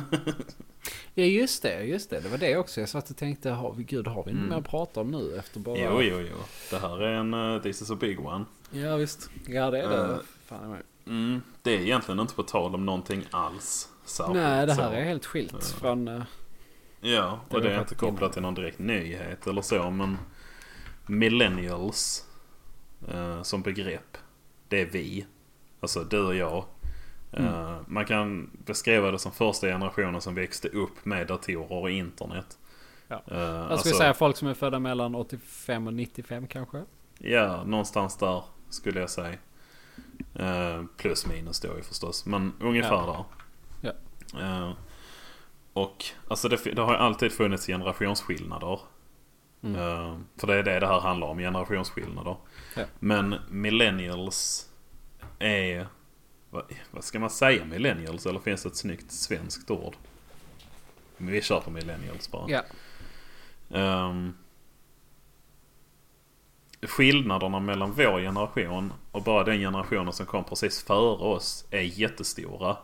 Ja, just det. Just det. Det var det också. Jag satt och tänkte, har vi, gud, har vi inte
Mm.
mer att prata om nu efter bara...
Jo, jo, jo. Det här är en... eh, this is a big one.
Ja, visst. Ja, det är det.
Eh,
Fan, jag med.
Mm, det är egentligen inte på tal om någonting alls. särskilt
Nej, det
så.
här är helt skilt från... eh,
Ja,
Det
och det
var
är
faktiskt
inte kopplat till någon direkt nyhet eller så, men millennials eh, som begrepp, det är vi. Alltså du och jag. Eh, man kan beskriva det som första generationen som växte upp med datorer och internet.
Ja.
Eh,
jag skulle säga folk som är födda mellan 85 och 95 kanske.
Ja, någonstans där skulle jag säga. Eh, plus minus då ju förstås. Men ungefär där.
Ja.
Eh, och alltså det, det har ju alltid funnits generationsskillnader.
Mm.
Eh, för det är det det här handlar om, generationsskillnader.
Ja.
Men millennials är... Vad, vad ska man säga millennials? Eller finns det ett snyggt svenskt ord? Men vi kör på millennials bara.
Ja.
Ehm, skillnaderna mellan vår generation och bara den generationen som kom precis före oss är jättestora.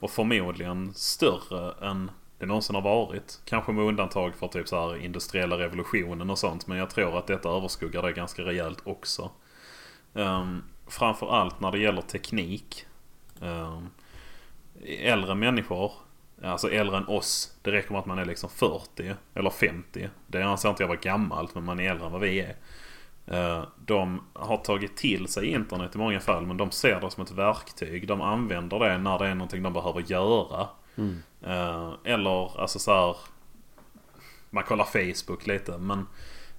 Och förmodligen större än det någonsin har varit. Kanske med undantag för typ så här industriella revolutionen och sånt. Men jag tror att detta överskuggar det ganska rejält också. Um, framförallt när det gäller teknik. Ehm, äldre människor, alltså äldre än oss. Det räcker med att man är liksom 40 eller 50. Det anser inte jag vara gammalt men man är äldre än vad vi är. Eh, De har tagit till sig internet i många fall men de ser det som ett verktyg. De använder det när det är någonting de behöver göra. Eh, Eller alltså så här. Man kollar Facebook lite men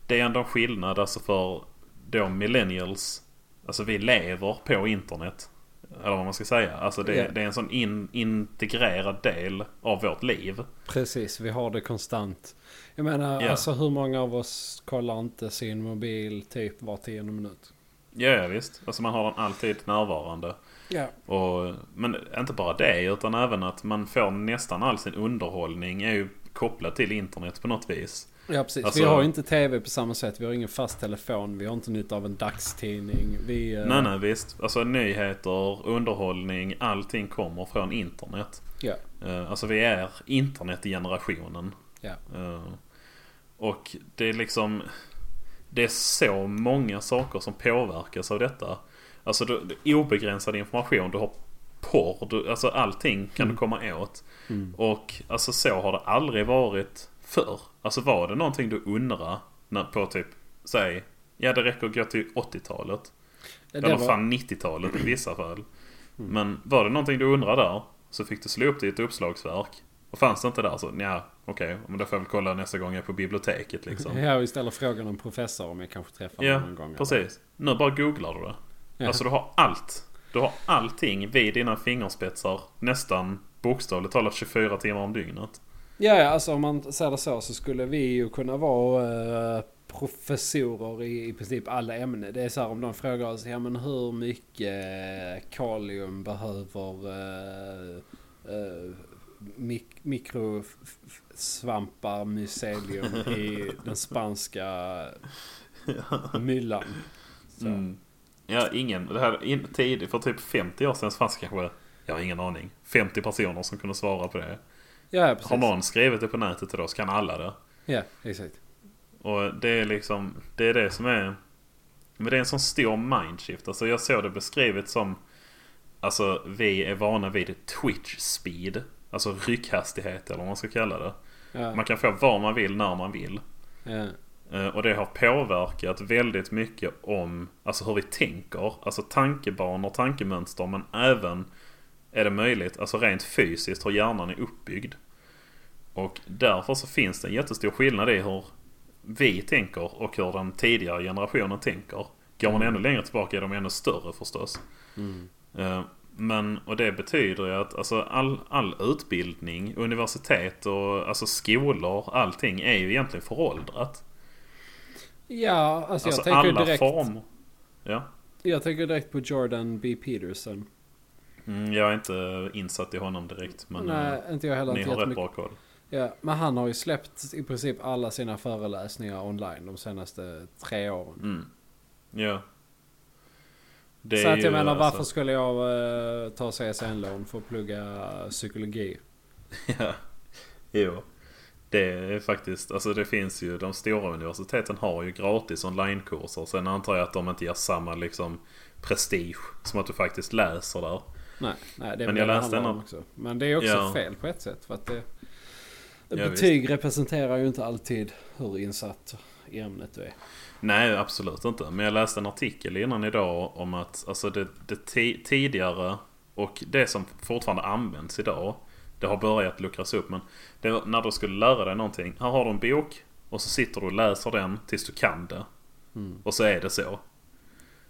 det är ändå en skillnad alltså för då millennials. Alltså vi lever på internet. Eller vad man ska säga. Alltså det,
Ja.
det är en sån in, integrerad del av vårt liv.
Precis, vi har det konstant. Jag menar,
Ja.
alltså hur många av oss kollar inte sin mobil typ var tionde minut?
Ja, ja visst. Alltså man har den alltid närvarande.
Ja.
Och, men inte bara det utan även att man får nästan all sin underhållning är ju kopplad till internet på något vis.
Ja precis.
Alltså-
vi har ju inte tv på samma sätt. Vi har ingen fast telefon. Vi har inte nytta av en dagstidning. Vi, eh,
Nej nej visst. Alltså nyheter, underhållning, allting kommer från internet.
Ja,
Eh, Alltså vi är internetgenerationen.
ja.
Eh, Och det är liksom... Det är så många saker som påverkas av detta. Alltså du, du- obegränsad information, du har porr, du, alltså allting kan du komma åt. Och alltså så har det aldrig varit förr. Alltså var det någonting du undrade när, på typ, säg, ja det räcker att gå till 80-talet.
Det
Eller
var- Mm.
fan 90-talet i vissa fall. Men var det någonting du undrar där så fick du slå upp det i ett uppslagsverk. Och fanns det inte där så nja, okej, men då får jag väl kolla nästa gång jag är på biblioteket liksom.
Ja, vi ställer frågan om professor om jag kanske träffar
Ja,
honom någon gång.
precis. Nu bara googlar du det.
Ja.
Alltså du har allt. Du har allting vid dina fingerspetsar nästan bokstavligt talat 24 timmar om dygnet.
Ja, ja, alltså om man säger det så så skulle vi ju kunna vara eh, professorer i, i princip alla ämnen. Det är så här om de frågar oss, ja men hur mycket eh, kalium behöver eh, eh, mik mikrosvampar mycelium i den spanska myllan? Så.
Mm. Ja, ingen. Det här in, tid, för typ 50 år sedan fanns kanske, jag har ingen aning, 50 personer som kunde svara på det.
Ja, ja, precis.
Har någon skrivit det på nätet idag så kan alla det.
Ja, exakt.
Och det är liksom, det är det som är... Men det är en sån stor mindshift. Alltså jag såg det beskrivet som... Alltså vi är vana vid twitch speed. Alltså ryckhastighet eller vad man ska kalla det.
Ja,
Man kan få vad man vill när man vill.
ja,
Eh, Och det har påverkat väldigt mycket om alltså hur vi tänker. Alltså tankebanor, tankemönster men även är det möjligt, alltså rent fysiskt hur hjärnan är uppbyggd. Och därför så finns det en jättestor skillnad i hur vi tänker och hur den tidigare generationen tänker. Går man ännu längre tillbaka är de ännu större förstås. Eh, Men, och det betyder ju att alltså, all, all utbildning, universitet och alltså, skolor, allting är ju egentligen föråldrat.
ja alltså,
Alltså
jag tänker ju
alla
direkt...
former. Ja.
Jag tänker direkt på Jordan B. Peterson.
Mm, jag är inte insatt i honom direkt. Men
Nej,
eh,
inte jag heller.
ni
Inte
har rätt
jättemycket.
bra koll.
Ja, men han har ju släppt i princip alla sina föreläsningar online de senaste tre åren.
Mm. Ja. Det
så att jag menar,
alltså-
varför skulle jag eh, ta CSN-lån för att plugga psykologi?
Ja. Jo. Det är faktiskt, alltså det finns ju, de stora universiteten har ju gratis onlinekurser. Sen antar jag att de inte ger samma liksom prestige som att du faktiskt läser där.
Nej, nej det är
Men
väl
jag
det det
läste
handlar om
en av-
också. Men det är också
Ja.
fel på ett sätt. För att det,
Ja,
betyg representerar ju inte alltid hur insatt i ämnet du är.
Nej, absolut inte. Men jag läste en artikel innan idag om att alltså det, det ti- tidigare och det som fortfarande används idag. Det har börjat luckras upp. Men det, var när du skulle lära dig någonting. Här har du en bok och så sitter du och läser den tills du kan det. Och så är det så.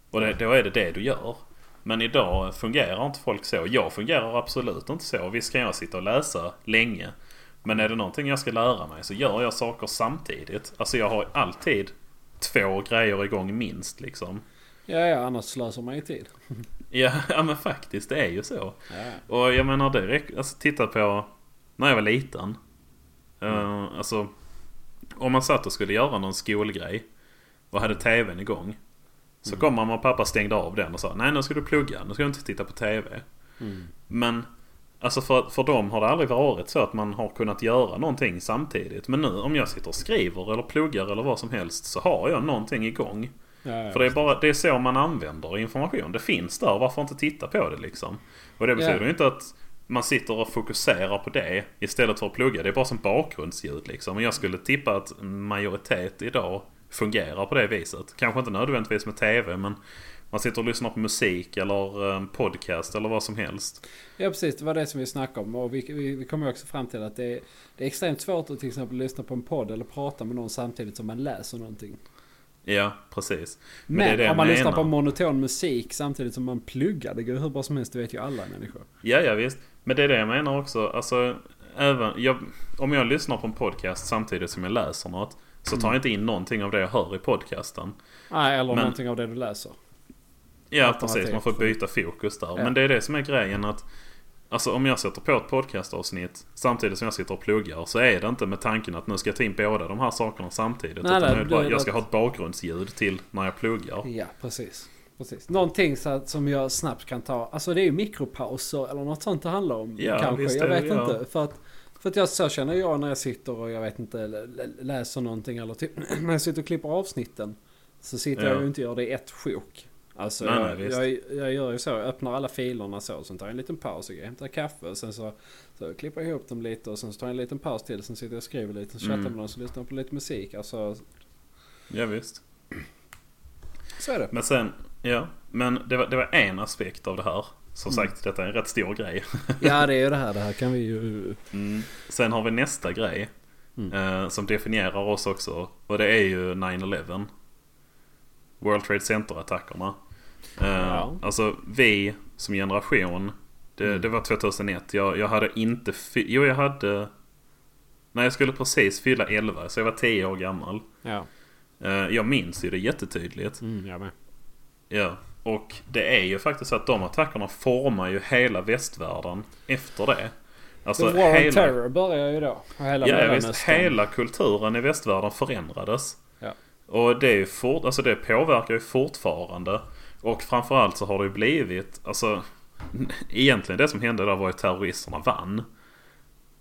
Och det, då är det det du gör. Men idag fungerar inte folk så. Jag fungerar absolut inte så. Visst kan jag sitta och läsa länge. Men är det någonting jag ska lära mig så gör jag saker samtidigt. Alltså jag har alltid två grejer igång minst liksom.
Ja, ja, annars slösar man ju tid.
Ja, ja men faktiskt, det är ju så.
Ja.
Och jag menar det räcker, alltså titta på när jag var liten. Eh, alltså om man satt och skulle göra någon skolgrej och hade tvn igång. Så kom mamma och pappa stängde av den och sa nej nu ska du plugga, nu ska du inte titta på tv. Men alltså för, för dem har det aldrig varit så att man har kunnat göra någonting samtidigt. Men nu om jag sitter och skriver eller pluggar eller vad som helst så har jag någonting igång.
Ja, ja.
För det är, bara, det är så man använder information. Det finns där, varför inte titta på det liksom? Och det betyder
Ja.
ju inte att man sitter och fokuserar på det istället för att plugga. Det är bara som bakgrundsljud liksom. Och jag skulle tippa att en majoritet idag fungerar på det viset. Kanske inte nödvändigtvis med TV men man sitter och lyssnar på musik eller eh, podcast eller vad som helst.
Ja precis, det var det som vi snackade om. Och vi, vi, vi kom ju också fram till att det är, det är extremt svårt att till exempel lyssna på en podd eller prata med någon samtidigt som man läser någonting.
Ja, precis.
Men,
det är det
om man
jag
lyssnar
menar.
på monoton musik samtidigt som man pluggar, det går ju hur bra som helst, det vet ju alla människor.
Ja, ja visst. Men det är det jag menar också. Alltså, även, jag, om jag lyssnar på en podcast samtidigt som jag läser något så
Mm.
tar jag inte in någonting av det jag hör i podcasten.
Nej, eller
Men-
någonting av det du läser.
Ja,
Alternativ.
precis. Man får byta fokus där.
Ja.
Men det är det som är grejen att Alltså om jag sätter på ett podcastavsnitt samtidigt som jag sitter och pluggar så är det inte med tanken att nu ska jag ta in båda de här sakerna samtidigt.
Nej,
utan
nej,
jag, vill bara,
det-
jag ska ha ett bakgrundsljud till när jag pluggar.
Ja, precis. precis.
Mm.
Någonting så att, som jag snabbt kan ta. Alltså det är ju mikropauser eller något sånt det handlar om.
Ja,
kanske.
visst
jag
är det,
vet
ja.
inte. För att, för att jag, så känner jag när jag sitter och jag vet inte lä- läser någonting eller typ när jag sitter och klipper avsnitten. Så sitter jag
Ja.
ju inte och gör det i ett sjok. Alltså
Nej,
jag,
nej, visst.
jag, jag gör ju så. Jag öppnar alla filerna så. Sen tar jag en liten paus. Jag hämtar kaffe. Och sen så, så klipper jag ihop dem lite. Och sen så tar jag en liten paus till. Sen sitter jag och skriver lite. Sen chattar jag
Mm.
med någon. Så lyssnar jag på lite musik. Alltså
Ja, visst.
Så är det.
Men sen, ja. Men det var, det var en aspekt av det här. Som
Mm.
sagt, detta är en rätt stor grej.
Ja det är ju det här. Det här kan vi ju...
Sen har vi nästa grej.
Mm.
Eh, som definierar oss också. Och det är ju 9-11. World Trade Center-attackerna. Eh,
Ja. Mm.
Alltså vi som generation. Det, det var 2001. Jag, jag hade inte... Fy- jo, jag hade... Nej, jag skulle precis fylla 11. Så jag var 10 år gammal.
Ja.
Eh, jag minns ju det jättetydligt.
Mm, jag med.
Ja, och det är ju faktiskt så att de attackerna formar ju hela västvärlden efter det. Alltså
The War on
hela,
Terror börjar ju då. Och Hela
ja, visst,
Mellanöstern.
hela kulturen i västvärlden förändrades.
Ja.
Och det, är ju fort, alltså det påverkar ju fortfarande. Och framförallt så har det ju blivit, alltså egentligen det som hände där var ju att terroristerna vann.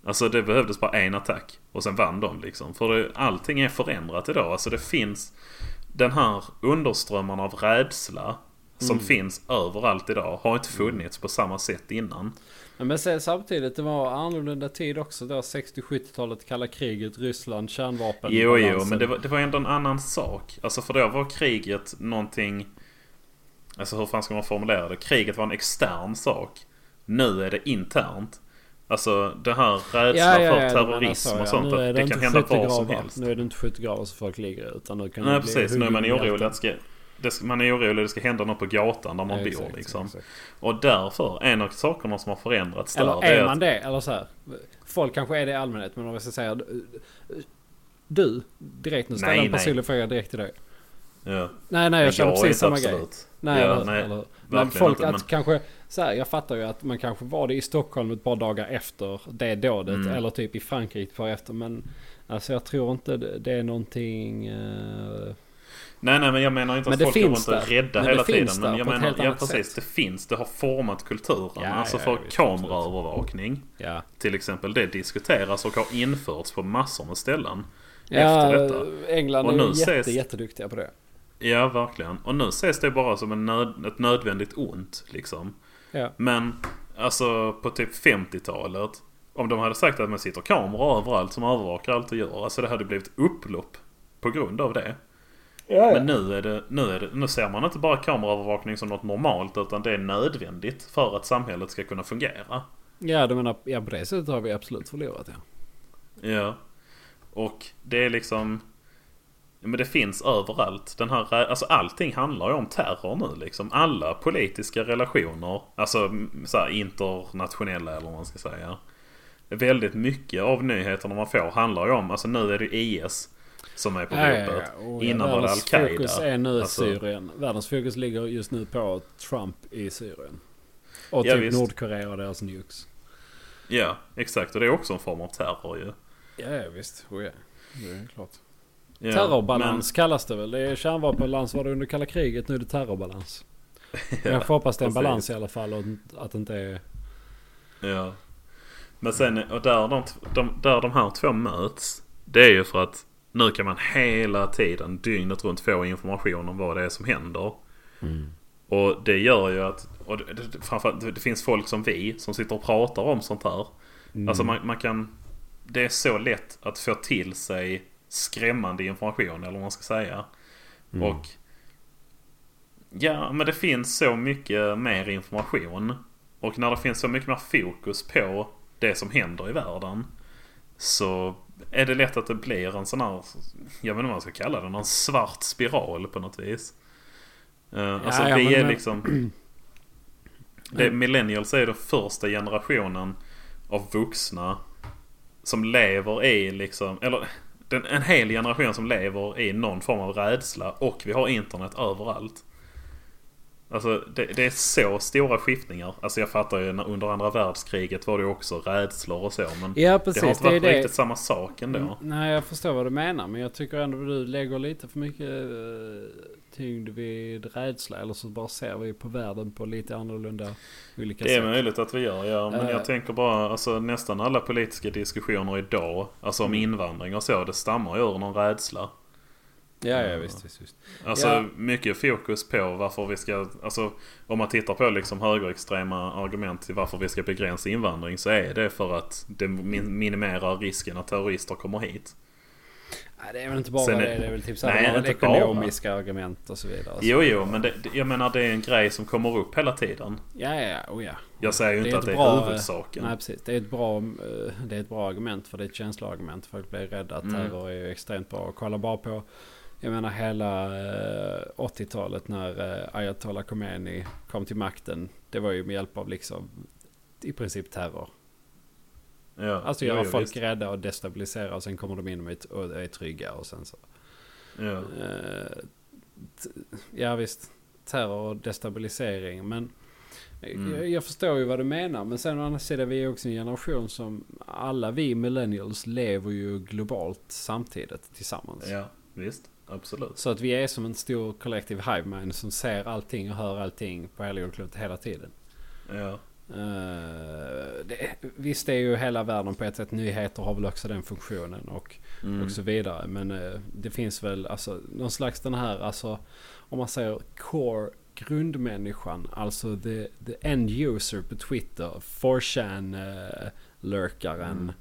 Alltså det behövdes bara en attack och sen vann de liksom. För det, allting är förändrat idag. Alltså det finns den här underströmmen av rädsla som
Mm.
finns överallt idag har inte funnits på samma sätt innan.
Ja, Men sen samtidigt, det var annorlunda tid också då. 60-70-talet, kalla kriget, Ryssland, kärnvapen.
Jo, jo,
balansen.
men det var, det var ändå en annan sak. Alltså för då var kriget någonting... Alltså hur fan ska man formulera det? Kriget var en extern sak. Nu är det internt. Alltså det här rädslan för
du menar
terrorism
så,
och
alltså, Nu
sånt.
är
att det
inte
kan hända var som
skyttegravar.
helst.
Nu är det inte skyttegravar som folk ligger i, utan nu kan det
Nej
bli
precis, nu är man
huvudhjältar.
orolig att det ska, det ska, man är orolig att det ska hända något på gatan där man
Ja,
bor
exakt,
liksom.
exakt.
Och därför, en av sakerna som har förändrats
Eller
där det
är
är
man
att,
det? Eller så här. Folk kanske är det i allmänhet, men om jag ska säga... Du, direkt nu, ställer
Nej,
en
nej.
personlig fråga direkt till dig.
Ja,
Nej, nej, jag
men
känner
är
precis
inte
samma grej.
absolut.
Nej,
Ja,
eller,
nej,
eller, men
verkligen
folk
inte,
att
men-
kanske, så här, jag fattar ju att man kanske var det i Stockholm ett par dagar efter det dådet
Mm.
eller typ i Frankrike ett par efter. Men alltså jag tror inte det, det är någonting... eh,
Nej, nej, men jag menar inte
Men
att
det
folk går
finns
runt och är
där.
rädda
Men det
hela tiden.
finns där
Men jag
på ett
menar,
helt
ja
annat
precis, det finns. Det har format kulturen.
Ja,
alltså
ja,
för
ja, visst,
kameraövervakning
ja.
till exempel. Det diskuteras och har införts på massor med ställen.
ja, eh,
Efter detta.
England
Och
är
nu
ju jätte,
ses-
jätteduktiga på det.
Ja, verkligen. Och nu ses det bara som en nöd, ett nödvändigt ont liksom.
Ja.
Men alltså på typ 50-talet. Om de hade sagt att man sitter kameror överallt som övervakar allt och gör. Alltså det hade blivit upplopp på grund av det. Men nu, är det, nu, är det, nu ser man inte bara kameraövervakning som något normalt utan det är nödvändigt för att samhället ska kunna fungera.
ja, du menar, ja, på det sättet har vi absolut förlorat ja.
Ja. Och det är liksom... ja, Men det finns överallt. Den här, rä- alltså allting handlar ju om terror nu liksom. Alla politiska relationer. Alltså m- så här, internationella eller vad man ska säga. Väldigt mycket av nyheterna man får handlar ju om... Alltså nu är det IS som är på
Ja, ja,
ropet.
ja. Och
Innan var det
världens
Al-Qaida.
fokus är nu
Alltså,
Syrien. Världens fokus ligger just nu på Trump i Syrien. Och
Ja,
typ
visst.
Nordkorea och deras nukes.
Ja, exakt. Och det är också en form av terror ju.
Ja, ja visst. Oh, ja. Det är klart.
Ja,
Terrorbalans kallas det väl? Det är kärnvapenbalans var det under kalla kriget. Nu är det terrorbalans. Men jag får hoppas det är en
precis.
balans i alla fall och att det inte är...
Men, ja. men sen, och där de, de, där de här två möts. Det är ju för att nu kan man hela tiden, dygnet runt, få information om vad det är som händer.
Mm.
Och det gör ju att, och det, det, framförallt det- det finns folk som vi som sitter och pratar om sånt här.
Mm.
Alltså man, man kan, det är så lätt att få till sig skrämmande information eller vad man ska säga.
Mm.
Och Ja, men det finns så mycket mer information. Och när det finns så mycket mer fokus på det som händer i världen. Så är det lätt att det blir en sån här, jag vet inte vad man ska kalla det, någon svart spiral på något vis. Eh, alltså
ja,
vi
men-
är
men-
liksom... Det, millennials är den första generationen av vuxna som lever i liksom, eller den, en hel generation som lever i någon form av rädsla och vi har internet överallt. Alltså det, det är så stora skiftningar. Alltså jag fattar ju när- under andra världskriget var det ju också rädslor och så. Men
Ja,
det har
precis.
inte
Det är
varit
det. Mm.
riktigt samma sak ändå.
Nej, jag förstår vad du menar. Men jag tycker ändå att du lägger lite för mycket eh, tyngd vid rädsla. Eller så bara ser vi på världen på lite annorlunda olika
Det är
sätt.
möjligt att vi gör ja. Men
Eh.
jag tänker bara alltså nästan alla politiska diskussioner idag. Alltså
Mm.
om invandring och så. Det stammar ju ur någon rädsla.
Ja, ja, visst. visst, visst.
Alltså
Ja.
mycket fokus på varför vi ska, alltså om man tittar på liksom högerextrema argument till varför vi ska begränsa invandring så är det för att det min- minimerar risken att terrorister kommer hit.
Nej, det är väl inte bara
Sen
det.
är-
Det är väl typ så här,
Nej,
man har
inte
ekonomiska argument och så vidare. Så.
Jo, jo, men det, det- jag menar det är en grej som kommer upp hela tiden.
Ja, ja, ja. Oh, ja.
Jag säger ju
Det är
inte att
ett
det är
bra- eh,
huvudsaken.
Nej, precis. Det är, ett bra, eh, det är ett bra argument för det är ett känsloargument. Folk blir rädda.
Mm.
Terror är ju extremt bra. Kolla bara på, jag menar hela eh, 80-talet när eh, Ayatollah Khomeini kom till makten. Det var ju med hjälp av liksom i princip terror.
Ja,
Alltså
jo,
göra
jo,
folk
visst.
rädda och destabilisera och sen kommer de in med ett- och är trygga och sen så.
Ja.
Eh, t- ja visst, terror och destabilisering. Men
Mm.
jag, jag förstår ju vad du menar. Men sen å andra sidan, vi är också en generation som alla vi millennials lever ju globalt samtidigt tillsammans.
ja, visst. Absolut.
Så att vi är som en stor kollektiv hive mind som ser allting och hör allting på hela jordklotet hela tiden.
Ja.
Eh, det, visst är ju hela världen på ett sätt nyheter har väl också den funktionen och,
Mm.
och så vidare. Men eh, det finns väl alltså någon slags den här alltså om man säger core grundmänniskan alltså the, the end user på Twitter 4chan eh, lurkaren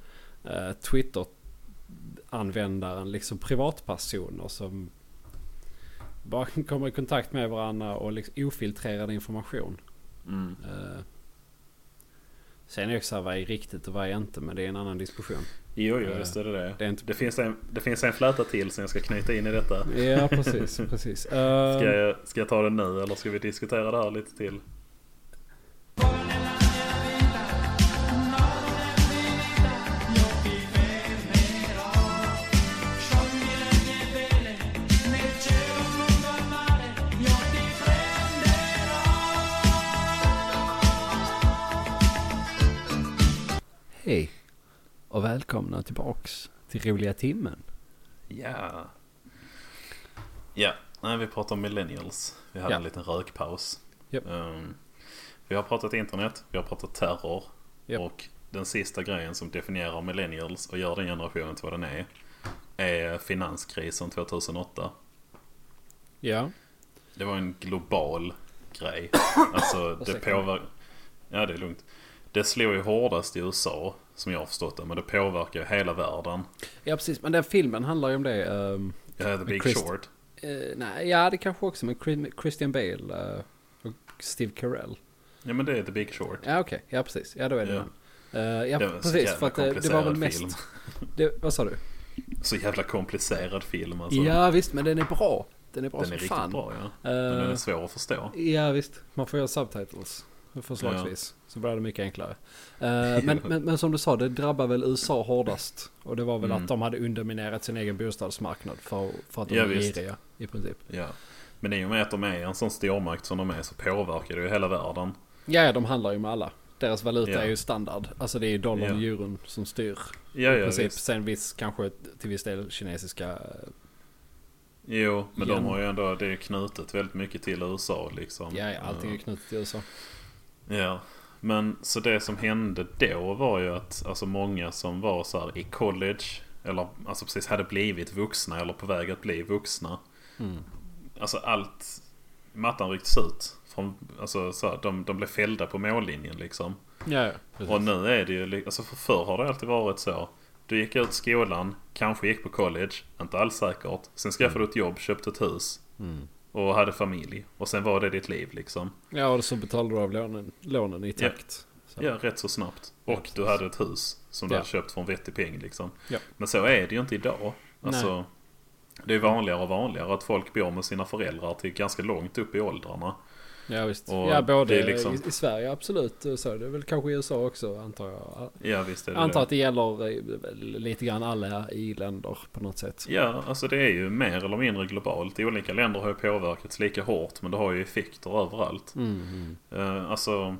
eh, Twitter användaren liksom privatpersoner som bara kommer i kontakt med varandra och liksom ofiltrerad information.
Mm.
Eh, Sen är det också så här, vad är riktigt och vad är inte? Men det är en annan diskussion.
Jo, jo,
Eh,
visst är det det.
Det är inte...
Det finns, en, det finns en fläta till som jag ska knyta in i detta.
Ja, precis. precis.
Ska
Eh,
jag, ska jag ta den nu eller ska vi diskutera det här lite till?
Hej och välkomna tillbaks till roliga timmen.
Ja. Ja, nej, vi pratar om millennials. Vi hade
Ja.
en liten rökpaus.
Japp.
Ehm, vi har pratat internet, vi har pratat terror.
Japp.
Och den sista grejen som definierar millennials och gör den generationen till vad den är. Är finanskrisen 2008.
Ja,
Det var en global grej. Alltså det
Ursäkta mig.
påverkar... Ja det är lugnt. Det slog ju hårdast i USA. Som jag har förstått det. Men det påverkar ju hela världen.
ja precis. Men den filmen handlar ju om det. ehm,
Ja, The Big
Chris-
Short.
eh, nej, ja, det kanske också. Men Chris- Christian Bale eh, och Steve Carell.
Ja men det är The Big Short.
Ja, okej. Ja, precis. Ja, då är det
Ja.
den. Eh, ja,
Det var en så
precis.
jävla
För att det, det var väl
komplicerad
mest...
film.
Det, vad sa du?
Så jävla komplicerad film alltså.
Ja, visst. Men den är bra. Den är bra
den
som
är
fan.
riktigt bra ja. Men den
Eh,
är svår att förstå.
Ja visst, man får göra subtitles. Förslagsvis. Så blir det mycket enklare. Eh, men, men, men som du sa, det drabbar väl USA hårdast. Och det var väl
Mm.
att de hade underminerat sin egen bostadsmarknad för, för att de
Ja,
är
visst.
giriga i princip.
Ja. Men i och med att de är en sån stormakt som de är så påverkar det ju hela världen.
Ja, ja, de handlar ju med alla. Deras valuta
Ja.
är ju standard. Alltså det är dollarn och
Ja.
euron som styr.
Ja,
i
ja
princip.
visst.
Sen viss, kanske till viss del kinesiska.
Jo, men
Ja.
de har ju ändå, det är knutet väldigt mycket till USA liksom.
Ja, ja allting är knutet till USA.
Ja, men så det som hände då var ju att alltså många som var så här i college eller alltså precis hade blivit vuxna eller på väg att bli vuxna.
Mm.
Alltså allt, mattan rycktes ut. Från, alltså så här, de, de blev fällda på mållinjen liksom.
Ja, ja. precis.
Och nu är det ju, li- alltså för förr har det alltid varit så. Du gick ut skolan, kanske gick på college, inte alls säkert. Sen skaffade du ett jobb, köpte ett hus
Mm.
och hade familj. Och sen var det ditt liv liksom.
Ja, och så betalar du av lånen, lånen i
Ja.
takt. Så.
Ja, rätt så snabbt.
Ja,
Och du
precis.
hade ett hus som du
Ja.
hade köpt för en vettig peng. Liksom.
Ja.
Men så är det ju inte idag.
Nej.
Alltså, det är vanligare och vanligare att folk bor med sina föräldrar till ganska långt upp i åldrarna.
Ja visst.
Och
ja både
det är liksom-
i, i Sverige absolut. och Så. Det är väl kanske i USA också antar jag.
Ja, visst är det
Antar
det.
att det gäller eh, lite grann alla i-länder på något sätt.
Ja, alltså det är ju mer eller mindre globalt. I olika länder har ju påverkats lika hårt men det har ju effekter överallt.
Mm.
Eh, alltså,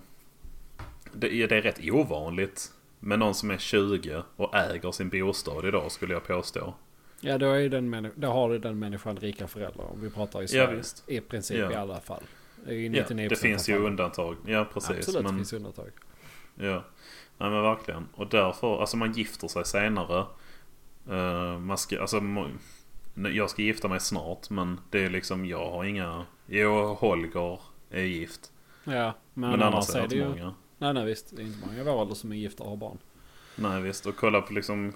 det är, det är rätt ovanligt med någon som är 20 och äger sin bostad idag skulle jag påstå.
Ja då, är ju den männi- då har ju den människan rika föräldrar. Om vi pratar i Sverige.
visst.
I princip
Ja.
i alla fall. I
Ja,
99%
det finns ju
av fallen.
undantag. Ja, precis.
Absolut,
men-
det finns undantag.
Ja, nej men verkligen. Och därför, alltså man gifter sig senare. Eh, man ska, alltså, må- nej, jag ska gifta mig snart men det är liksom, jag har inga... Jo, Holger är gift.
Ja, men,
Men, annars är det
ju...
inte många.
Nej, nej visst. Det är inte många i vår ålder som är gifta och har barn.
Nej visst, och kolla på liksom...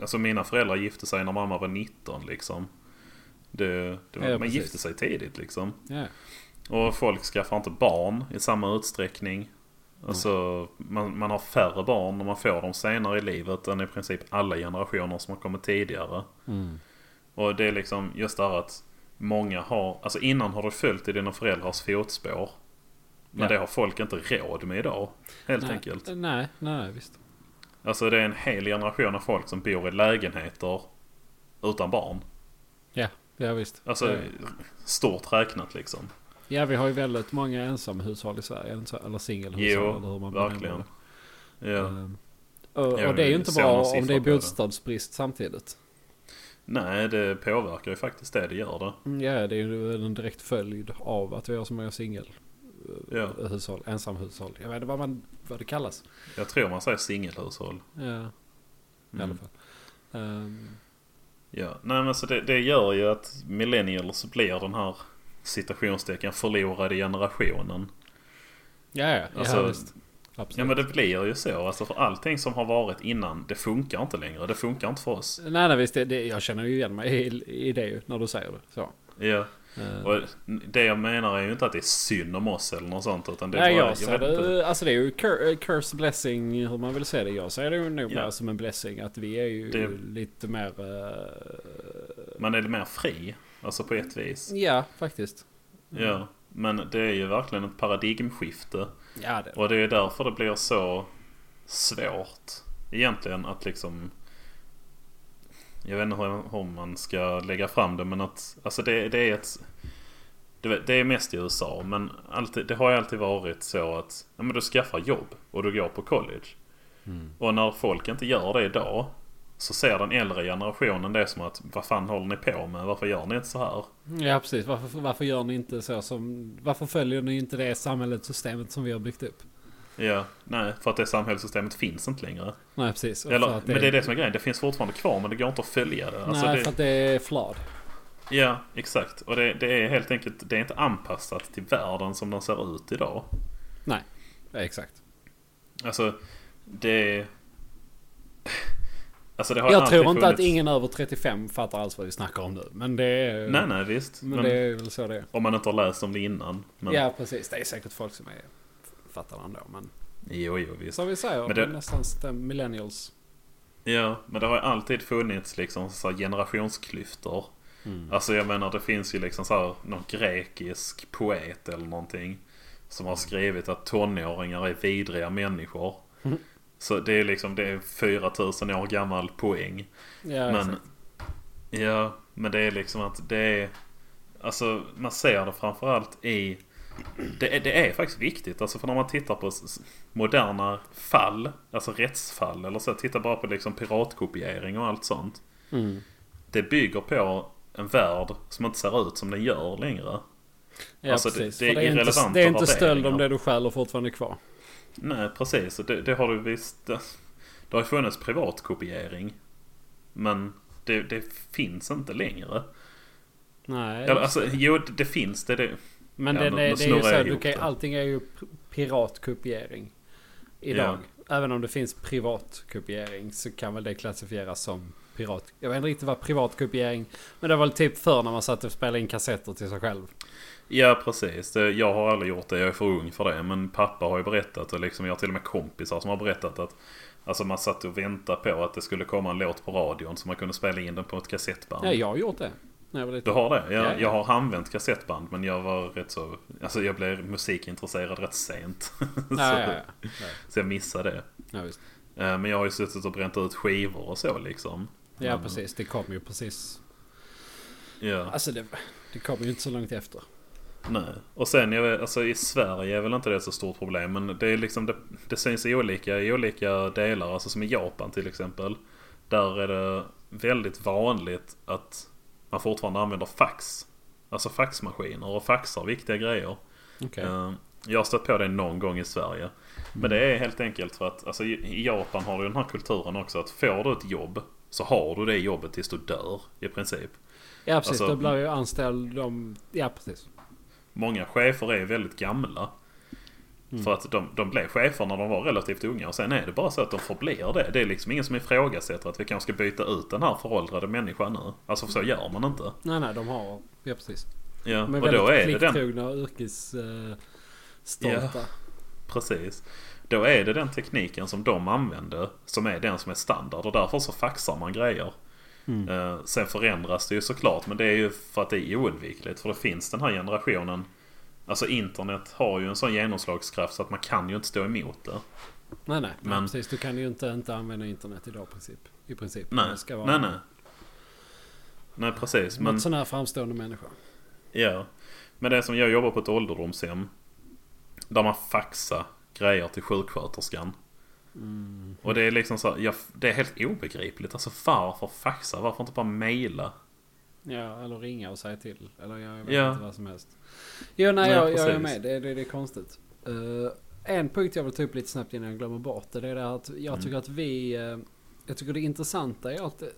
Alltså mina föräldrar gifte sig när mamma var 19 liksom. Det, det var,
Ja,
man
precis.
gifte sig tidigt liksom.
Ja.
Och folk skaffar inte barn i samma utsträckning. Alltså man, man har färre barn och man får dem senare i livet än i princip alla generationer som har kommit tidigare.
Mm.
Och det är liksom just det här att många har, alltså innan har du följt i dina föräldrars fotspår. Men
Ja.
det har folk inte råd med idag. Helt
nej,
enkelt.
Nej, nej, nej, visst.
Alltså det är en hel generation av folk som bor i lägenheter utan barn.
Ja, ja visst.
Alltså
Ja.
stort räknat liksom.
ja, vi har ju väldigt många ensamhushåll i Sverige. är det inte så? Eller singelhushåll. eller hur
Jo,
man benämner
verkligen.
det.
Ja.
Ehm, Och,
Ja,
och det är ju inte
vi ser någon
bra om
siffra
det är
på det.
bostadsbrist samtidigt.
Nej, det påverkar ju faktiskt det. Det gör det.
Mm, Ja, det är ju en direkt följd av att vi har så många
Ja.
singelhushåll, ensamhushåll. Jag vet inte vad, man, vad det kallas.
Jag tror man säger singelhushåll.
Ja, i
Mm.
alla fall. Ehm,
Ja. Nej, men så det, det gör ju att millennials blir den här citationstecken förlorade generationen.
ja, ja, ja,
Alltså,
visst. Absolut.
Ja men det blir ju så. Alltså för allting som har varit innan det funkar inte längre. Det funkar inte för oss.
Nej, nej, visst. Det, det, jag känner ju igen mig i, i det ju, när du säger det. Så.
Ja.
Ehm,
Och det jag menar är ju inte att det är synd om oss eller något sånt. Utan det är
Nej,
bara,
jag ser
vet inte.
det, alltså det är ju cur, curse blessing hur man vill se det. Jag ser det ju nog
Ja.
mer som en blessing att vi är ju
Det-
lite mer... eh,
Man är mer fri. Alltså på ett vis.
ja, faktiskt. Mm.
Ja. Men det är ju verkligen ett paradigmskifte.
Ja, det.
Och det är därför det blir så svårt egentligen att liksom... Jag vet inte hur, hur man ska lägga fram det men att... Alltså det, det är ett... du vet, Det är mest i USA men alltid, det har ju alltid varit så att ja, men du skaffar jobb och du går på college. Och när folk inte gör det idag så ser den äldre generationen det som att vad fan håller ni på med? Varför gör ni inte så här?
Ja, precis. Varför, varför gör ni inte så som... Varför följer ni inte det samhället, systemet som vi har byggt upp?
Ja, nej, för att det samhällssystemet finns inte längre.
Nej, precis. Och för
Eller,
att
men det är det som är grejen. Det finns fortfarande kvar men det går inte att följa det. Alltså,
nej,
det
för att det är flawed.
Ja, exakt. Och det, det är helt enkelt det är inte anpassat till världen som den ser ut idag.
Nej, ja, exakt.
Alltså, det... Alltså det har
Jag
alltid
tror inte
funnits...
att ingen över 35 fattar alls vad vi snackar om nu. Men det är...
Nej, nej, visst.
Men,
Men
det är väl så det är.
Om man inte har läst om det innan. Men...
Ja, precis. Det är säkert folk som är... Fattar ändå, men...
Jo, jo, visst.
Som vi säger,
Men det-
nästan stäm- millennials.
Ja, men det har ju alltid funnits liksom så här generationsklyftor. Alltså jag menar det finns ju liksom så här någon grekisk poet eller någonting. Som har skrivit att tonåringar är vidriga människor. Så det är liksom det är 4000 år gammal poäng.
Ja,
Men,
exakt.
ja, men det är liksom att det är... Alltså man ser det framförallt i... Det är, det är faktiskt viktigt. Alltså för när man tittar på s- s- moderna fall, alltså rättsfall eller så. Titta bara på liksom piratkopiering och allt sånt.
Mm.
Det bygger på en värld som inte ser ut som den gör längre.
ja,
alltså, det-
precis.
det
För
är
det, är inte,
irrelevanta
det är inte stöld om
värderingar.
det du stjäl och fortfarande är kvar.
Nej, precis. Och Det, det har du visst. Det, det har ju funnits privatkopiering. Men det, det finns inte längre.
Nej,
Eller, alltså, jo, det, det finns det. det.
men
ja,
det,
då-
det,
då
det är ju
snurrar
så.
jag
Du
ihop
kan,
det.
allting är ju p- piratkopiering idag. Även om det finns privatkopiering så kan väl det klassifieras som pirat. Jag vet inte riktigt vad privatkopiering... Men det var väl typ förr när man satt och spelade in kassetter till sig själv.
Ja, precis. Det, jag har aldrig gjort det. Jag är för ung för det. Men pappa har ju berättat och liksom, jag har till och med kompisar som har berättat att Alltså man satt och väntade på att det skulle komma en låt på radion så man kunde spela in den på ett kassettband.
Ja, jag har gjort det. När jag var
Du
liten.
har det? Jag,
Ja, ja.
jag har använt kassettband men jag var rätt så... Alltså jag blev musikintresserad rätt sent.
Ja,
så,
ja, ja. ja.
så jag missade det.
ja, visst.
Eh, Men jag har ju suttit och bränt ut skivor och så liksom.
ja precis. Det kom ju precis
Ja,
Alltså det, det kom ju inte så långt efter.
nej. Och sen, jag vet, alltså i Sverige är väl inte det ett så stort problem. Men det är liksom, det, det syns i olika, i olika delar. Alltså som i Japan till exempel. Där är det väldigt vanligt att man fortfarande använder fax. Alltså faxmaskiner och faxar viktiga grejer.
Okej.
Eh, Jag har stött på det någon gång i Sverige. Men det är helt enkelt för att alltså, i i Japan har du den här kulturen också att får du ett jobb så har du det jobbet tills du dör i princip.
Ja precis,
alltså-
då blir ju anställd de... Ja precis.
Många chefer är väldigt gamla. För att de, de blev chefer när de var relativt unga och sen är det bara så att de förblir det. Det är liksom ingen som ifrågasätter att vi kanske ska byta ut den här föråldrade människan nu. Alltså för så gör man inte.
Nej, nej, de har... Ja, precis.
Ja,
De är
och då är det
väldigt
den
plikttrogna och yrkesstolta.
Ja. Precis. Då är det den tekniken som de använde som är den som är standard och därför så faxar man grejer. Eh, sen förändras det ju såklart men det är ju för att det är oundvikligt för det finns den här generationen. Alltså internet har ju en sån genomslagskraft så att man kan ju inte stå emot det.
Nej, nej,
Men-
men... precis. Du kan ju inte, inte använda internet idag i princip. I princip.
Nej,
Det ska vara
nej, nej. Nej precis.
Något
Men,
sån här framstående människa.
ja. men det är som jag jobbar på ett ålderdomshem. Där man faxar grejer till sjuksköterskan.
Mm.
Och det är liksom så här, jag, det är helt obegripligt. Alltså varför faxa? Varför inte bara mejla?
Ja, eller ringa och säga till. Eller jag vet
Ja.
inte vad som helst. Jo, nej,
Nej,
jag, jag är
precis.
med. Det, det, det är konstigt. Eh, en punkt jag vill ta upp lite snabbt innan jag glömmer bort det. Det är det här att
Mm.
jag tycker att vi... eh, jag tycker det intressanta är allt, eh,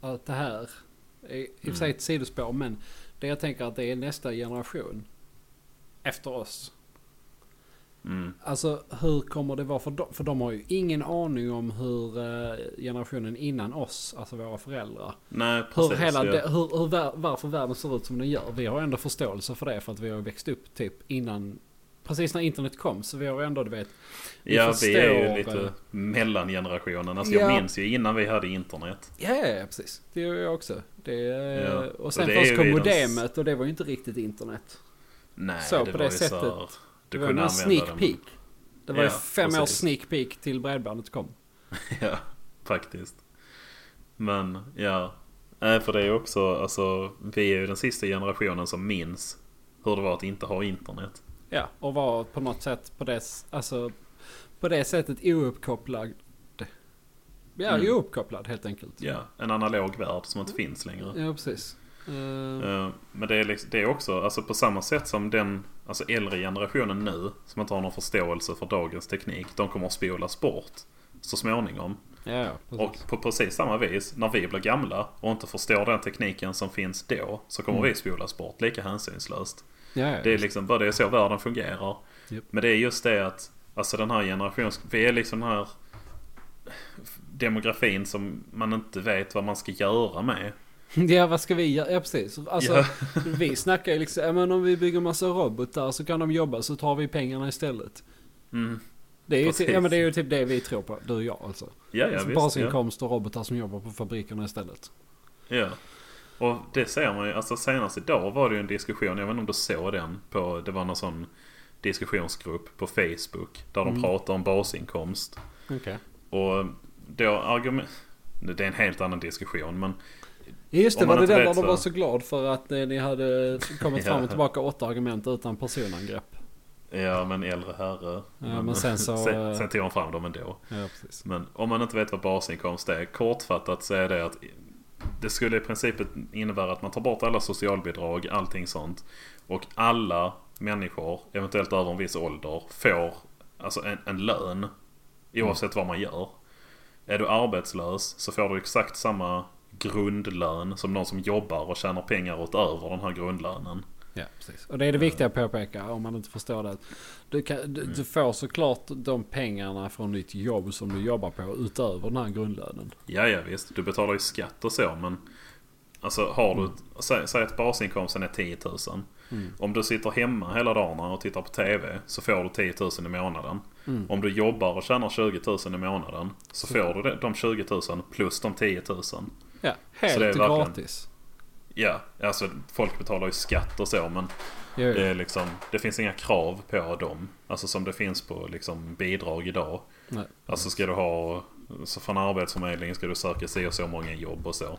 allt det här. är I och för
Mm.
sig ett sidospår, men det jag tänker att det är nästa generation. Efter oss.
Mm.
Alltså hur kommer det vara för dem? För de har ju ingen aning om hur eh, generationen innan oss, alltså våra föräldrar.
Nej
Hur
precis.
hela
ja.
det, hur, hur, vär- varför världen ser ut som den gör. Vi har ändå förståelse för det för att vi har växt upp typ innan, precis när internet kom. Så vi har ändå, du vet, vi
ja vi är ju
förstår,
lite
eller?
mellangenerationen. Alltså
Ja.
jag minns ju innan vi hade internet.
Ja, ja, ja, precis. Det gör jag också. Det, eh,
Ja,
Och sen
och det är
först
ju
kom
vi de-
modemet och det var ju inte riktigt internet.
Nej
Så,
det
på
var
det
ju så här,
sättet.
Du
det var
kunde
en
använda
sneak
den.
peek. Det var ju
Ja,
fem års
precis.
sneak peek till bredbandet kom.
Ja, faktiskt. Men ja. Nej, för det är ju också, alltså vi är ju den sista generationen som minns hur det var att inte ha internet.
Ja, och var på något sätt på det, alltså, på det sättet ouppkopplad. Ja,
Mm.
ouppkopplad helt enkelt.
Ja, en analog värld som inte finns längre.
Ja, precis. Eh,
Eh, Men det är, liksom, det är också, alltså på samma sätt som den alltså äldre generationen nu som inte har någon förståelse för dagens teknik. De kommer att spolas bort så småningom.
ja, ja, precis.
Och på precis samma vis, när vi blir gamla och inte förstår den tekniken som finns då, så kommer vi spolas bort lika hänsynslöst.
ja, ja.
Det är liksom bara det är så världen fungerar.
Japp.
Men det är just det att alltså den här generationen, vi är liksom den här demografin som man inte vet vad man ska göra med.
ja, vad ska vi göra? Ja, precis. Alltså,
Ja.
vi snackar ju liksom, ja, men om vi bygger massa robotar så kan de jobba så tar vi pengarna istället.
Mm.
Det är, ju
Precis.
typ, ja, men det är ju typ det vi tror på, du och jag alltså.
Ja, ja, visst, ja.
Basinkomst och robotar som jobbar på fabrikerna istället.
ja. Och det ser man ju, alltså senast idag var det ju en diskussion, jag vet inte om du såg den, på, det var någon sån diskussionsgrupp på Facebook där
Mm.
de pratar om basinkomst.
Okej.
Och då argument... Det är en helt annan diskussion men...
Just det,
Om
var
man
det
inte
den
vet
där du
så-
var så glad för att eh, ni hade kommit
Ja.
fram och tillbaka åtta argument utan personangrepp.
Ja men äldre herre.
men sen så-
sen, sen tog han fram dem ändå.
Ja, precis.
Men om man inte vet vad basinkomst är, kortfattat så är det att det skulle i princip innebära att man tar bort alla socialbidrag, allting sånt. Och alla människor, eventuellt över en viss ålder, får alltså en, en lön. Oavsett vad man gör. Är du arbetslös så får du exakt samma grundlön som någon som jobbar och tjänar pengar utöver den här grundlönen.
Ja, precis. Och det är det viktiga att påpeka om man inte förstår det. Du, kan, du,
Mm.
du får såklart de pengarna från ditt jobb som du jobbar på utöver den här grundlönen.
Ja, ja visst. Du betalar ju skatt och så men Alltså har du, sä, säg att basinkomsten är 10 000. Om du sitter hemma hela dagarna och tittar på TV så får du 10 000 i månaden. Om du jobbar och tjänar 20 000 i månaden så får du de- de 20 000 plus de 10
Ja,
000. Så det är
helt
verkligen-
gratis.
Ja, alltså folk betalar ju skatt och så men
Jo,
det,
jo.
är liksom, det finns inga krav på dem. Alltså som det finns på liksom, bidrag idag.
Nej.
Alltså ska du ha, så från Arbetsförmedlingen ska du söka sig och så många jobb och så.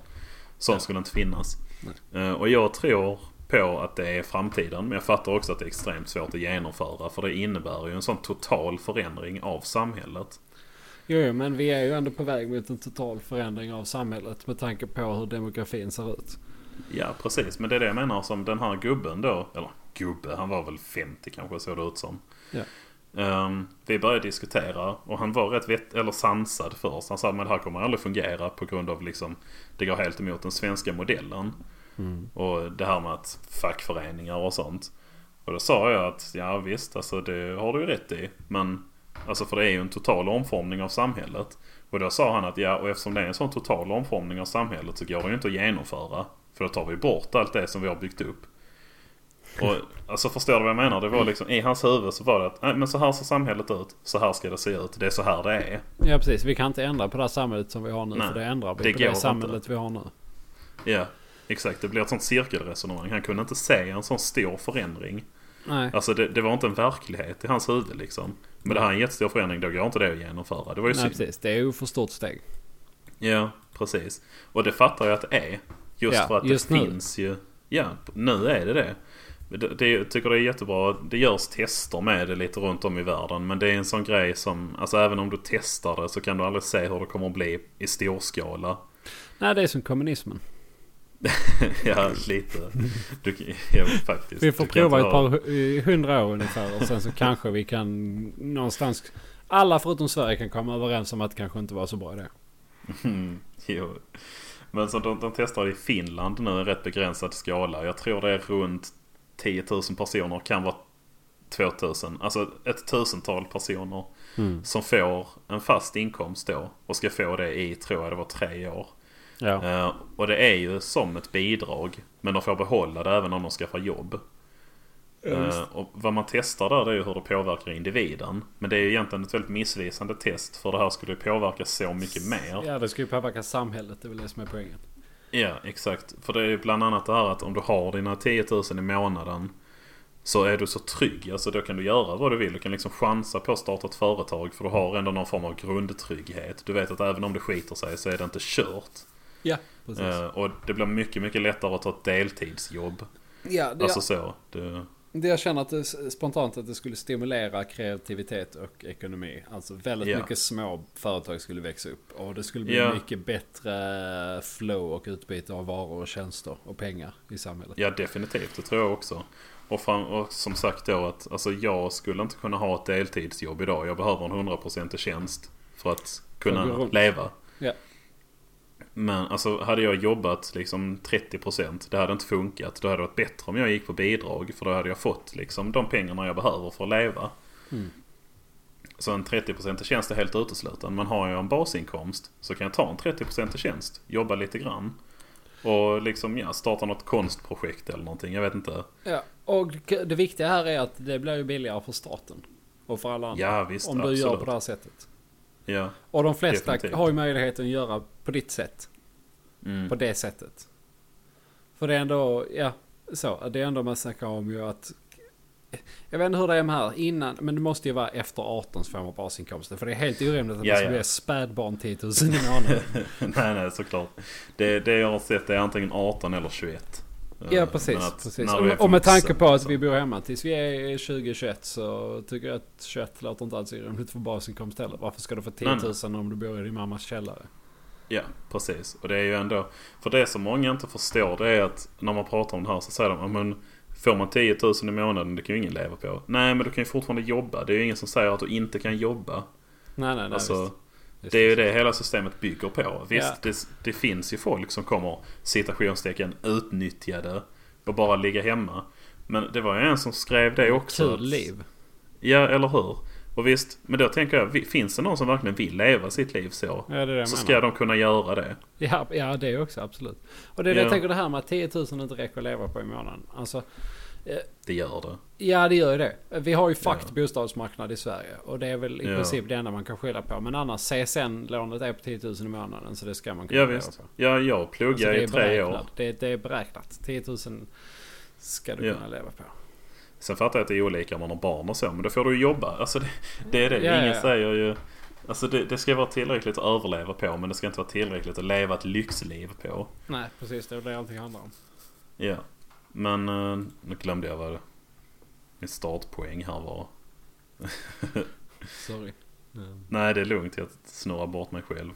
Sånt skulle inte finnas. Eh, Och jag tror på att det är framtiden. Men jag fattar också att det är extremt svårt att genomföra. För det innebär ju en sån total förändring av samhället.
Jo, jo, men vi är ju ändå på väg mot en total förändring av samhället med tanke på hur demografin ser ut.
Ja precis, men det är det jag menar som den här gubben då. Eller gubbe, han var väl 50 kanske såg det ut som.
Ja.
Ehm, vi började diskutera och han var rätt vet- eller sansad först. Han sa men det här kommer aldrig fungera på grund av liksom det går helt emot den svenska modellen. Och det här med att fackföreningar och sånt. Och då sa jag att ja visst, alltså det har du ju rätt i. Men alltså för det är ju en total omformning av samhället. Och då sa han att ja, och eftersom det är en sån total omformning av samhället så går det ju inte att genomföra. För då tar vi bort allt det som vi har byggt upp. Och alltså förstår du vad jag menar? Det var liksom i hans huvud så var det att nej, men så här ser samhället ut. Så här ska det se ut. Det är så här det är.
Ja precis, vi kan inte ändra på det här samhället som vi har nu.
Nej,
för det ändrar vi
det
på
går
det
inte.
samhället vi har nu.
Ja, exakt. Det blir ett sånt cirkelresonemang. Han kunde inte se en sån stor förändring.
Nej.
Alltså det, det var inte en verklighet i hans huvud liksom. Men det här är en jättestor förändring, då går inte det att genomföra. Det var ju
Nej
synd.
precis, det är ju för stort steg.
Ja, precis. Och det fattar jag att det är. Just
Ja,
för att
just
det
nu.
finns ju... Ja, nu är det det. Det, det. Jag tycker det är jättebra. Det görs tester med det lite runt om i världen. Men det är en sån grej som... Alltså även om du testar det så kan du aldrig se hur det kommer att bli i stor skala.
Nej det är som kommunismen.
ja, lite. Du, ja, faktiskt.
Vi får
Du kan
prova
inte
ett
ha-
par hu- i hundra år ungefär och sen så kanske vi kan någonstans... Alla förutom Sverige kan komma överens om att det kanske inte var så bra idé.
Mm, jo. Men så de, de testar i Finland nu i rätt begränsad skala. Jag tror det är runt 10 000 personer, kan vara 2 000. Alltså ett tusental personer som får en fast inkomst då. Och ska få det i, tror jag det var, tre år.
Ja.
Eh, och det är ju som ett bidrag. Men de får behålla det även om de skaffar jobb. Eh, och vad man testar där det är ju hur det påverkar individen. Men det är ju egentligen ett väldigt missvisande test. För det här skulle ju påverka så mycket mer.
Ja det ska ju påverka samhället, det är väl det som är poängen.
Ja, exakt. För det är ju bland annat det här att om du har dina 10 000 i månaden så är du så trygg. Alltså då kan du göra vad du vill. Du kan liksom chansa på att starta ett företag för du har ändå någon form av grundtrygghet. Du vet att även om det skiter sig så är det inte kört.
Ja, precis.
Eh, och det blir mycket, mycket lättare att ta ett deltidsjobb.
ja, det,
Alltså så. Det,
det jag känner att det, s- spontant att det skulle stimulera kreativitet och ekonomi. Alltså väldigt
Ja.
mycket små företag skulle växa upp. Och det skulle bli
Ja.
mycket bättre flow och utbyte av varor och tjänster och pengar i samhället.
ja, definitivt. Det tror jag också. Och, fram, och som sagt då att alltså, jag skulle inte kunna ha ett deltidsjobb idag. Jag behöver en 100% tjänst för att
gå
kunna
runt.
leva.
Ja.
Men alltså hade jag jobbat liksom 30% det hade inte funkat. Då hade det varit bättre om jag gick på bidrag för då hade jag fått liksom de pengarna jag behöver för att leva.
Mm.
Så en 30% tjänst är helt utesluten. Men har jag en basinkomst så kan jag ta en 30% tjänst, jobba lite grann. Och liksom ja, starta något konstprojekt eller någonting, jag vet inte.
Ja, och det viktiga här är att det blir ju billigare för staten. Och för alla andra.
Ja visst,
om du
absolut.
gör på det här sättet.
Ja,
Och de flesta
Definitivt.
har ju möjligheten att göra på ditt sätt.
Mm.
På det sättet. För det är ändå, ja, så. Det är ändå man snackar om ju att... Jag vet inte hur det är med här innan, men det måste ju vara efter 18 så får man basinkomsten. För det är helt orimligt att
Ja,
man ska
ja.
bli spädbarn 10 000 i månaden.
nej nej såklart. Det, det jag har sett är antingen 18 eller 21.
Ja
Eh,
precis.
men att
precis.
när du
Och,
är
och med tanke
vuxen,
på att
så-
vi bor hemma tills vi är 20-21 så tycker jag att 21 låter inte alls orimligt för basinkomst heller. Varför ska du få 10
Nej,
000 om du bor i din mammas källare?
Ja, precis. Och det är ju ändå... För det som många inte förstår det är att när man pratar om det här så säger de "Ja, men får man 10 000 i månaden det kan ju ingen leva på. Nej, men du kan ju fortfarande jobba. Det är ju ingen som säger att du inte kan jobba.
Nej, nej, nej.
alltså,
visst. Visst,
det är ju
visst.
det hela systemet bygger på. Visst, det, det finns ju folk som kommer citationstecken utnyttjade och bara ligga hemma. Men det var ju en som skrev det också.
Kul
att-
liv.
Ja, eller hur? Och visst, men då tänker jag, vi- finns det någon som verkligen vill leva sitt liv så?
Ja, det är det jag
så ska
menar.
de kunna göra det.
Ja, ja, det också absolut. Och det är det
Ja.
jag tänker det här med att 10 000 inte räcker att leva på i månaden. Alltså,
Det gör det.
Ja, det gör ju det. Vi har ju fakt bostadsmarknad i Sverige. Och det är väl i
Ja.
princip det enda man kan skylla på. Men annars, CSN-lånet är på 10 000 i månaden. Så det ska man kunna
Ja
leva
visst.
på.
Ja, jag
Alltså,
pluggade
det är
i tre
beräknat.
år.
Det, det är beräknat. 10 000 ska du
Ja.
kunna leva på.
Sen fattar jag att det är olika om man har barn och så, men då får du ju jobba. Alltså det, det är det.
Ja, ja,
Ingen
ja.
säger ju... Alltså det, det ska vara tillräckligt att överleva på, men det ska inte vara tillräckligt att leva ett lyxliv på.
Nej, precis. Det är det allting handlar om.
Ja. Men eh, nu glömde jag vad min startpoäng här var.
Sorry. Mm.
Nej, det är lugnt. Jag snurrar bort mig själv.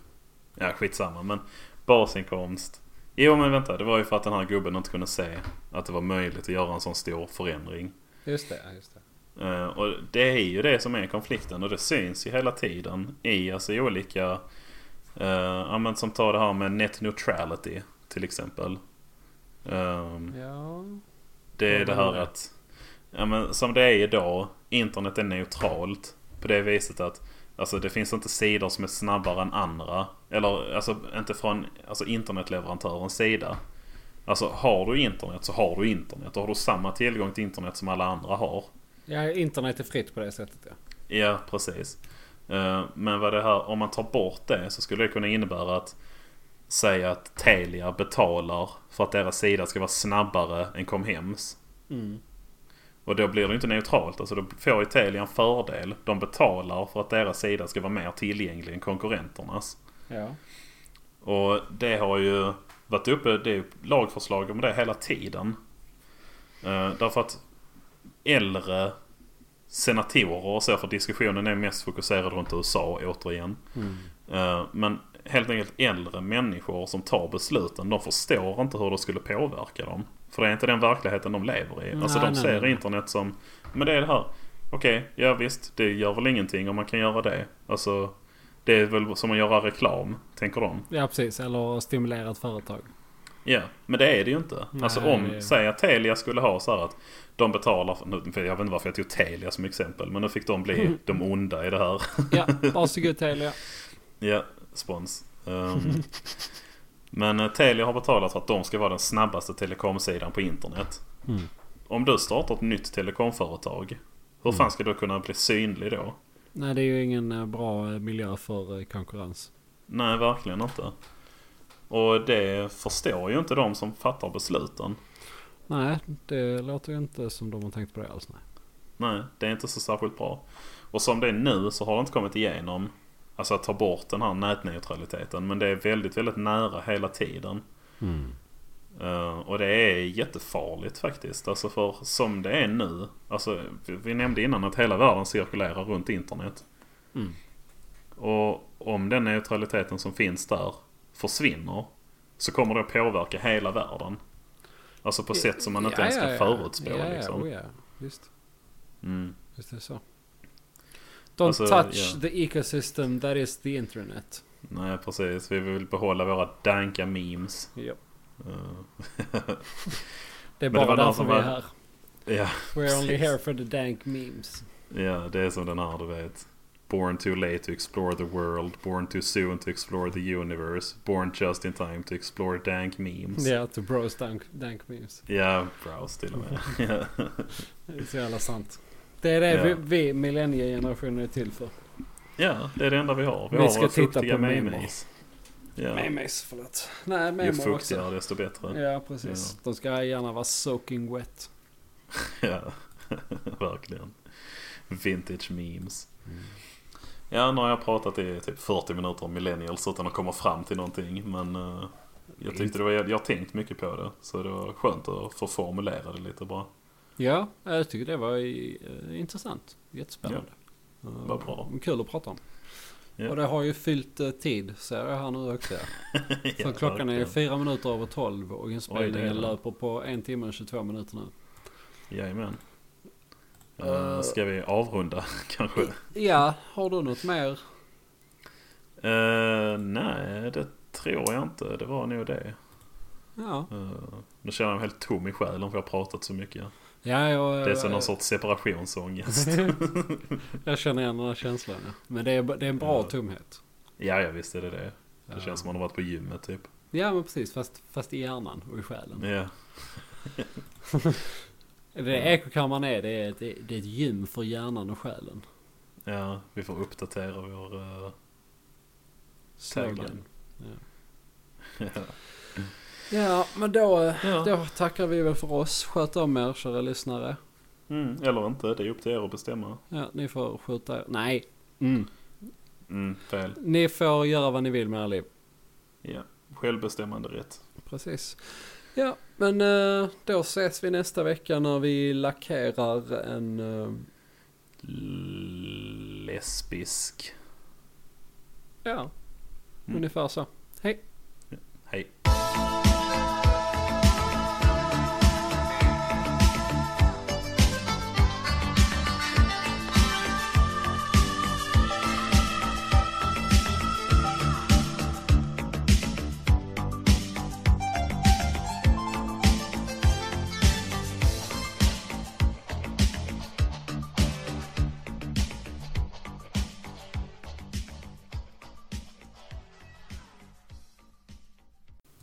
Ja, skitsamma. Men basinkomst. Jo, men vänta. Det var ju för att den här gubben inte kunde se att det var möjligt att göra en sån stor förändring.
Just det, just det.
Eh, Och det är ju det som är konflikten och det syns ju hela tiden i alltså i olika... eh, ja, men som tar det här med net neutrality till exempel. Ehm,
Ja.
det är
Vad menar
det här
du?
att... ja, men som det är idag, internet är neutralt på det viset att alltså, det finns inte sidor som är snabbare än andra. Eller alltså inte från alltså, internetleverantörens sida. Alltså har du internet så har du internet. Och har du samma tillgång till internet som alla andra har.
Ja, internet är fritt på det sättet ja.
Ja, precis. Eh, Men vad det här, om man tar bort det så skulle det kunna innebära att säga att Telia betalar för att deras sida ska vara snabbare än Comhems.
Mm.
Och då blir det inte neutralt. Alltså då får ju Telia en fördel. De betalar för att deras sida ska vara mer tillgänglig än konkurrenternas.
Ja.
Och det har ju varit uppe, det är ju lagförslag om det hela tiden. Eh, därför att äldre senatorer och så, för diskussionen är mest fokuserad runt USA återigen.
Mm.
Eh, men helt enkelt äldre människor som tar besluten, de förstår inte hur det skulle påverka dem. För det är inte den verkligheten de lever i. alltså de
Nej, nej,
ser
nej.
internet som, men det är det här. Okej, ja visst, det gör väl ingenting om man kan göra det. Alltså, det är väl som att göra reklam, tänker de.
ja, precis. Eller stimulera ett företag.
Ja, men det är det ju inte.
Nej,
alltså om,
det är-
säg att Telia skulle ha så här att de betalar, för, nu, för jag vet inte varför jag tog Telia som exempel, men nu fick de bli de onda i det här.
Ja, varsågod Telia.
ja, spons. Ehm, men eh, Telia har betalat för att de ska vara den snabbaste telekomsidan på internet.
Mm.
Om du startar ett nytt telekomföretag, hur
Mm.
fan ska du kunna bli synlig då?
Nej, det är ju ingen eh, bra eh, miljö för eh, konkurrens.
Nej, verkligen inte. Och det förstår ju inte de som fattar besluten.
Nej, det låter ju inte som de har tänkt på det alls. Nej.
Nej, det är inte så särskilt bra. Och som det är nu så har det inte kommit igenom. Alltså att ta bort den här nätneutraliteten. Men det är väldigt, väldigt nära hela tiden. Mm. Eh, och det är jättefarligt faktiskt. Alltså för som det är nu. Alltså vi- vi nämnde innan att hela världen cirkulerar runt internet.
Mm.
Och om den neutraliteten som finns där försvinner. Så kommer det att påverka hela världen. Alltså på sätt som man inte ens kan förutspå
ja,
liksom.
Ja, oh, ja. Visst.
Mm.
Visst är det så. Don't
Alltså,
touch
ja.
the ecosystem that is the internet.
Nej precis, vi vill behålla våra danka memes.
Ja.
Eh,
Det är
Men det
bara
var någon
därför
som
vi är
var-
här.
Ja,
We're only
precis.
here for the dank memes.
ja, det är som den här du vet. Born too late to explore the world, born too soon to explore the universe, born just in time to explore dank memes.
Ja, to bros dank, dank memes.
Ja, browse till och med. Ja.
Det är så jävla sant. Det är det
Ja.
vi, vi millenniegenerationen är till för.
ja, det är det enda vi har. Vi,
Vi
har
ska
våra
titta
fuktiga
på memer.
memes. Ja.
Memes, förlåt. Nej,
Ju
memer också.
fuktigare desto bättre.
Ja, precis. De ska gärna vara soaking wet.
Ja, verkligen. Vintage memes.
Mm.
Ja, nu har jag pratat i typ 40 minuter om millennials utan att komma fram till någonting. Men eh, jag tyckte det var, jag har tänkt mycket på det. Så det var skönt att få formulera det lite bara.
Ja, jag tycker det var eh, intressant. Jättespännande. Ja,
vad bra.
Kul att prata om.
Ja.
Och det har ju fyllt eh, tid, ser jag här nu också. För klockan är ju fyra minuter över tolv och inspelningen
Oj, det är det.
löper på en timme och 22 minuter nu.
Jajamän. Eh, ska vi avrunda kanske?
Ja, har du något mer?
Eh, nej, det tror jag inte. Det var nog det.
Ja.
Eh, nu känner jag mig helt tom i själen för jag har pratat så mycket.
Ja, jag, eh,
Det är som någon sorts separationsångest.
jag känner igen den här känslan. ja. Men det är, det är en bra
Ja.
tomhet.
ja, ja, visst är det det. Det
Ja.
känns som man har varit på gymmet typ.
Ja, men precis. Fast, fast i hjärnan och i själen.
Ja,
Det ekokammaren är, det är, ett, det är ett gym för hjärnan och själen.
ja vi får uppdatera vår... eh,
Slogan.
Tagline. ja.
Ja, men då, eh,
Ja.
då tackar vi väl för oss. Sköt om er, kära lyssnare.
Mm, eller inte, det är upp till er att bestämma.
Ja, ni får skjuta er. Nej. Mm.
Mm, fel.
Ni får göra vad ni vill med er liv.
Ja. Självbestämmande rätt.
Precis. Ja, men eh, då ses vi nästa vecka när vi lackerar en... eh,
Lesbisk.
Ja,
Mm.
Mm. ungefär så. Hej!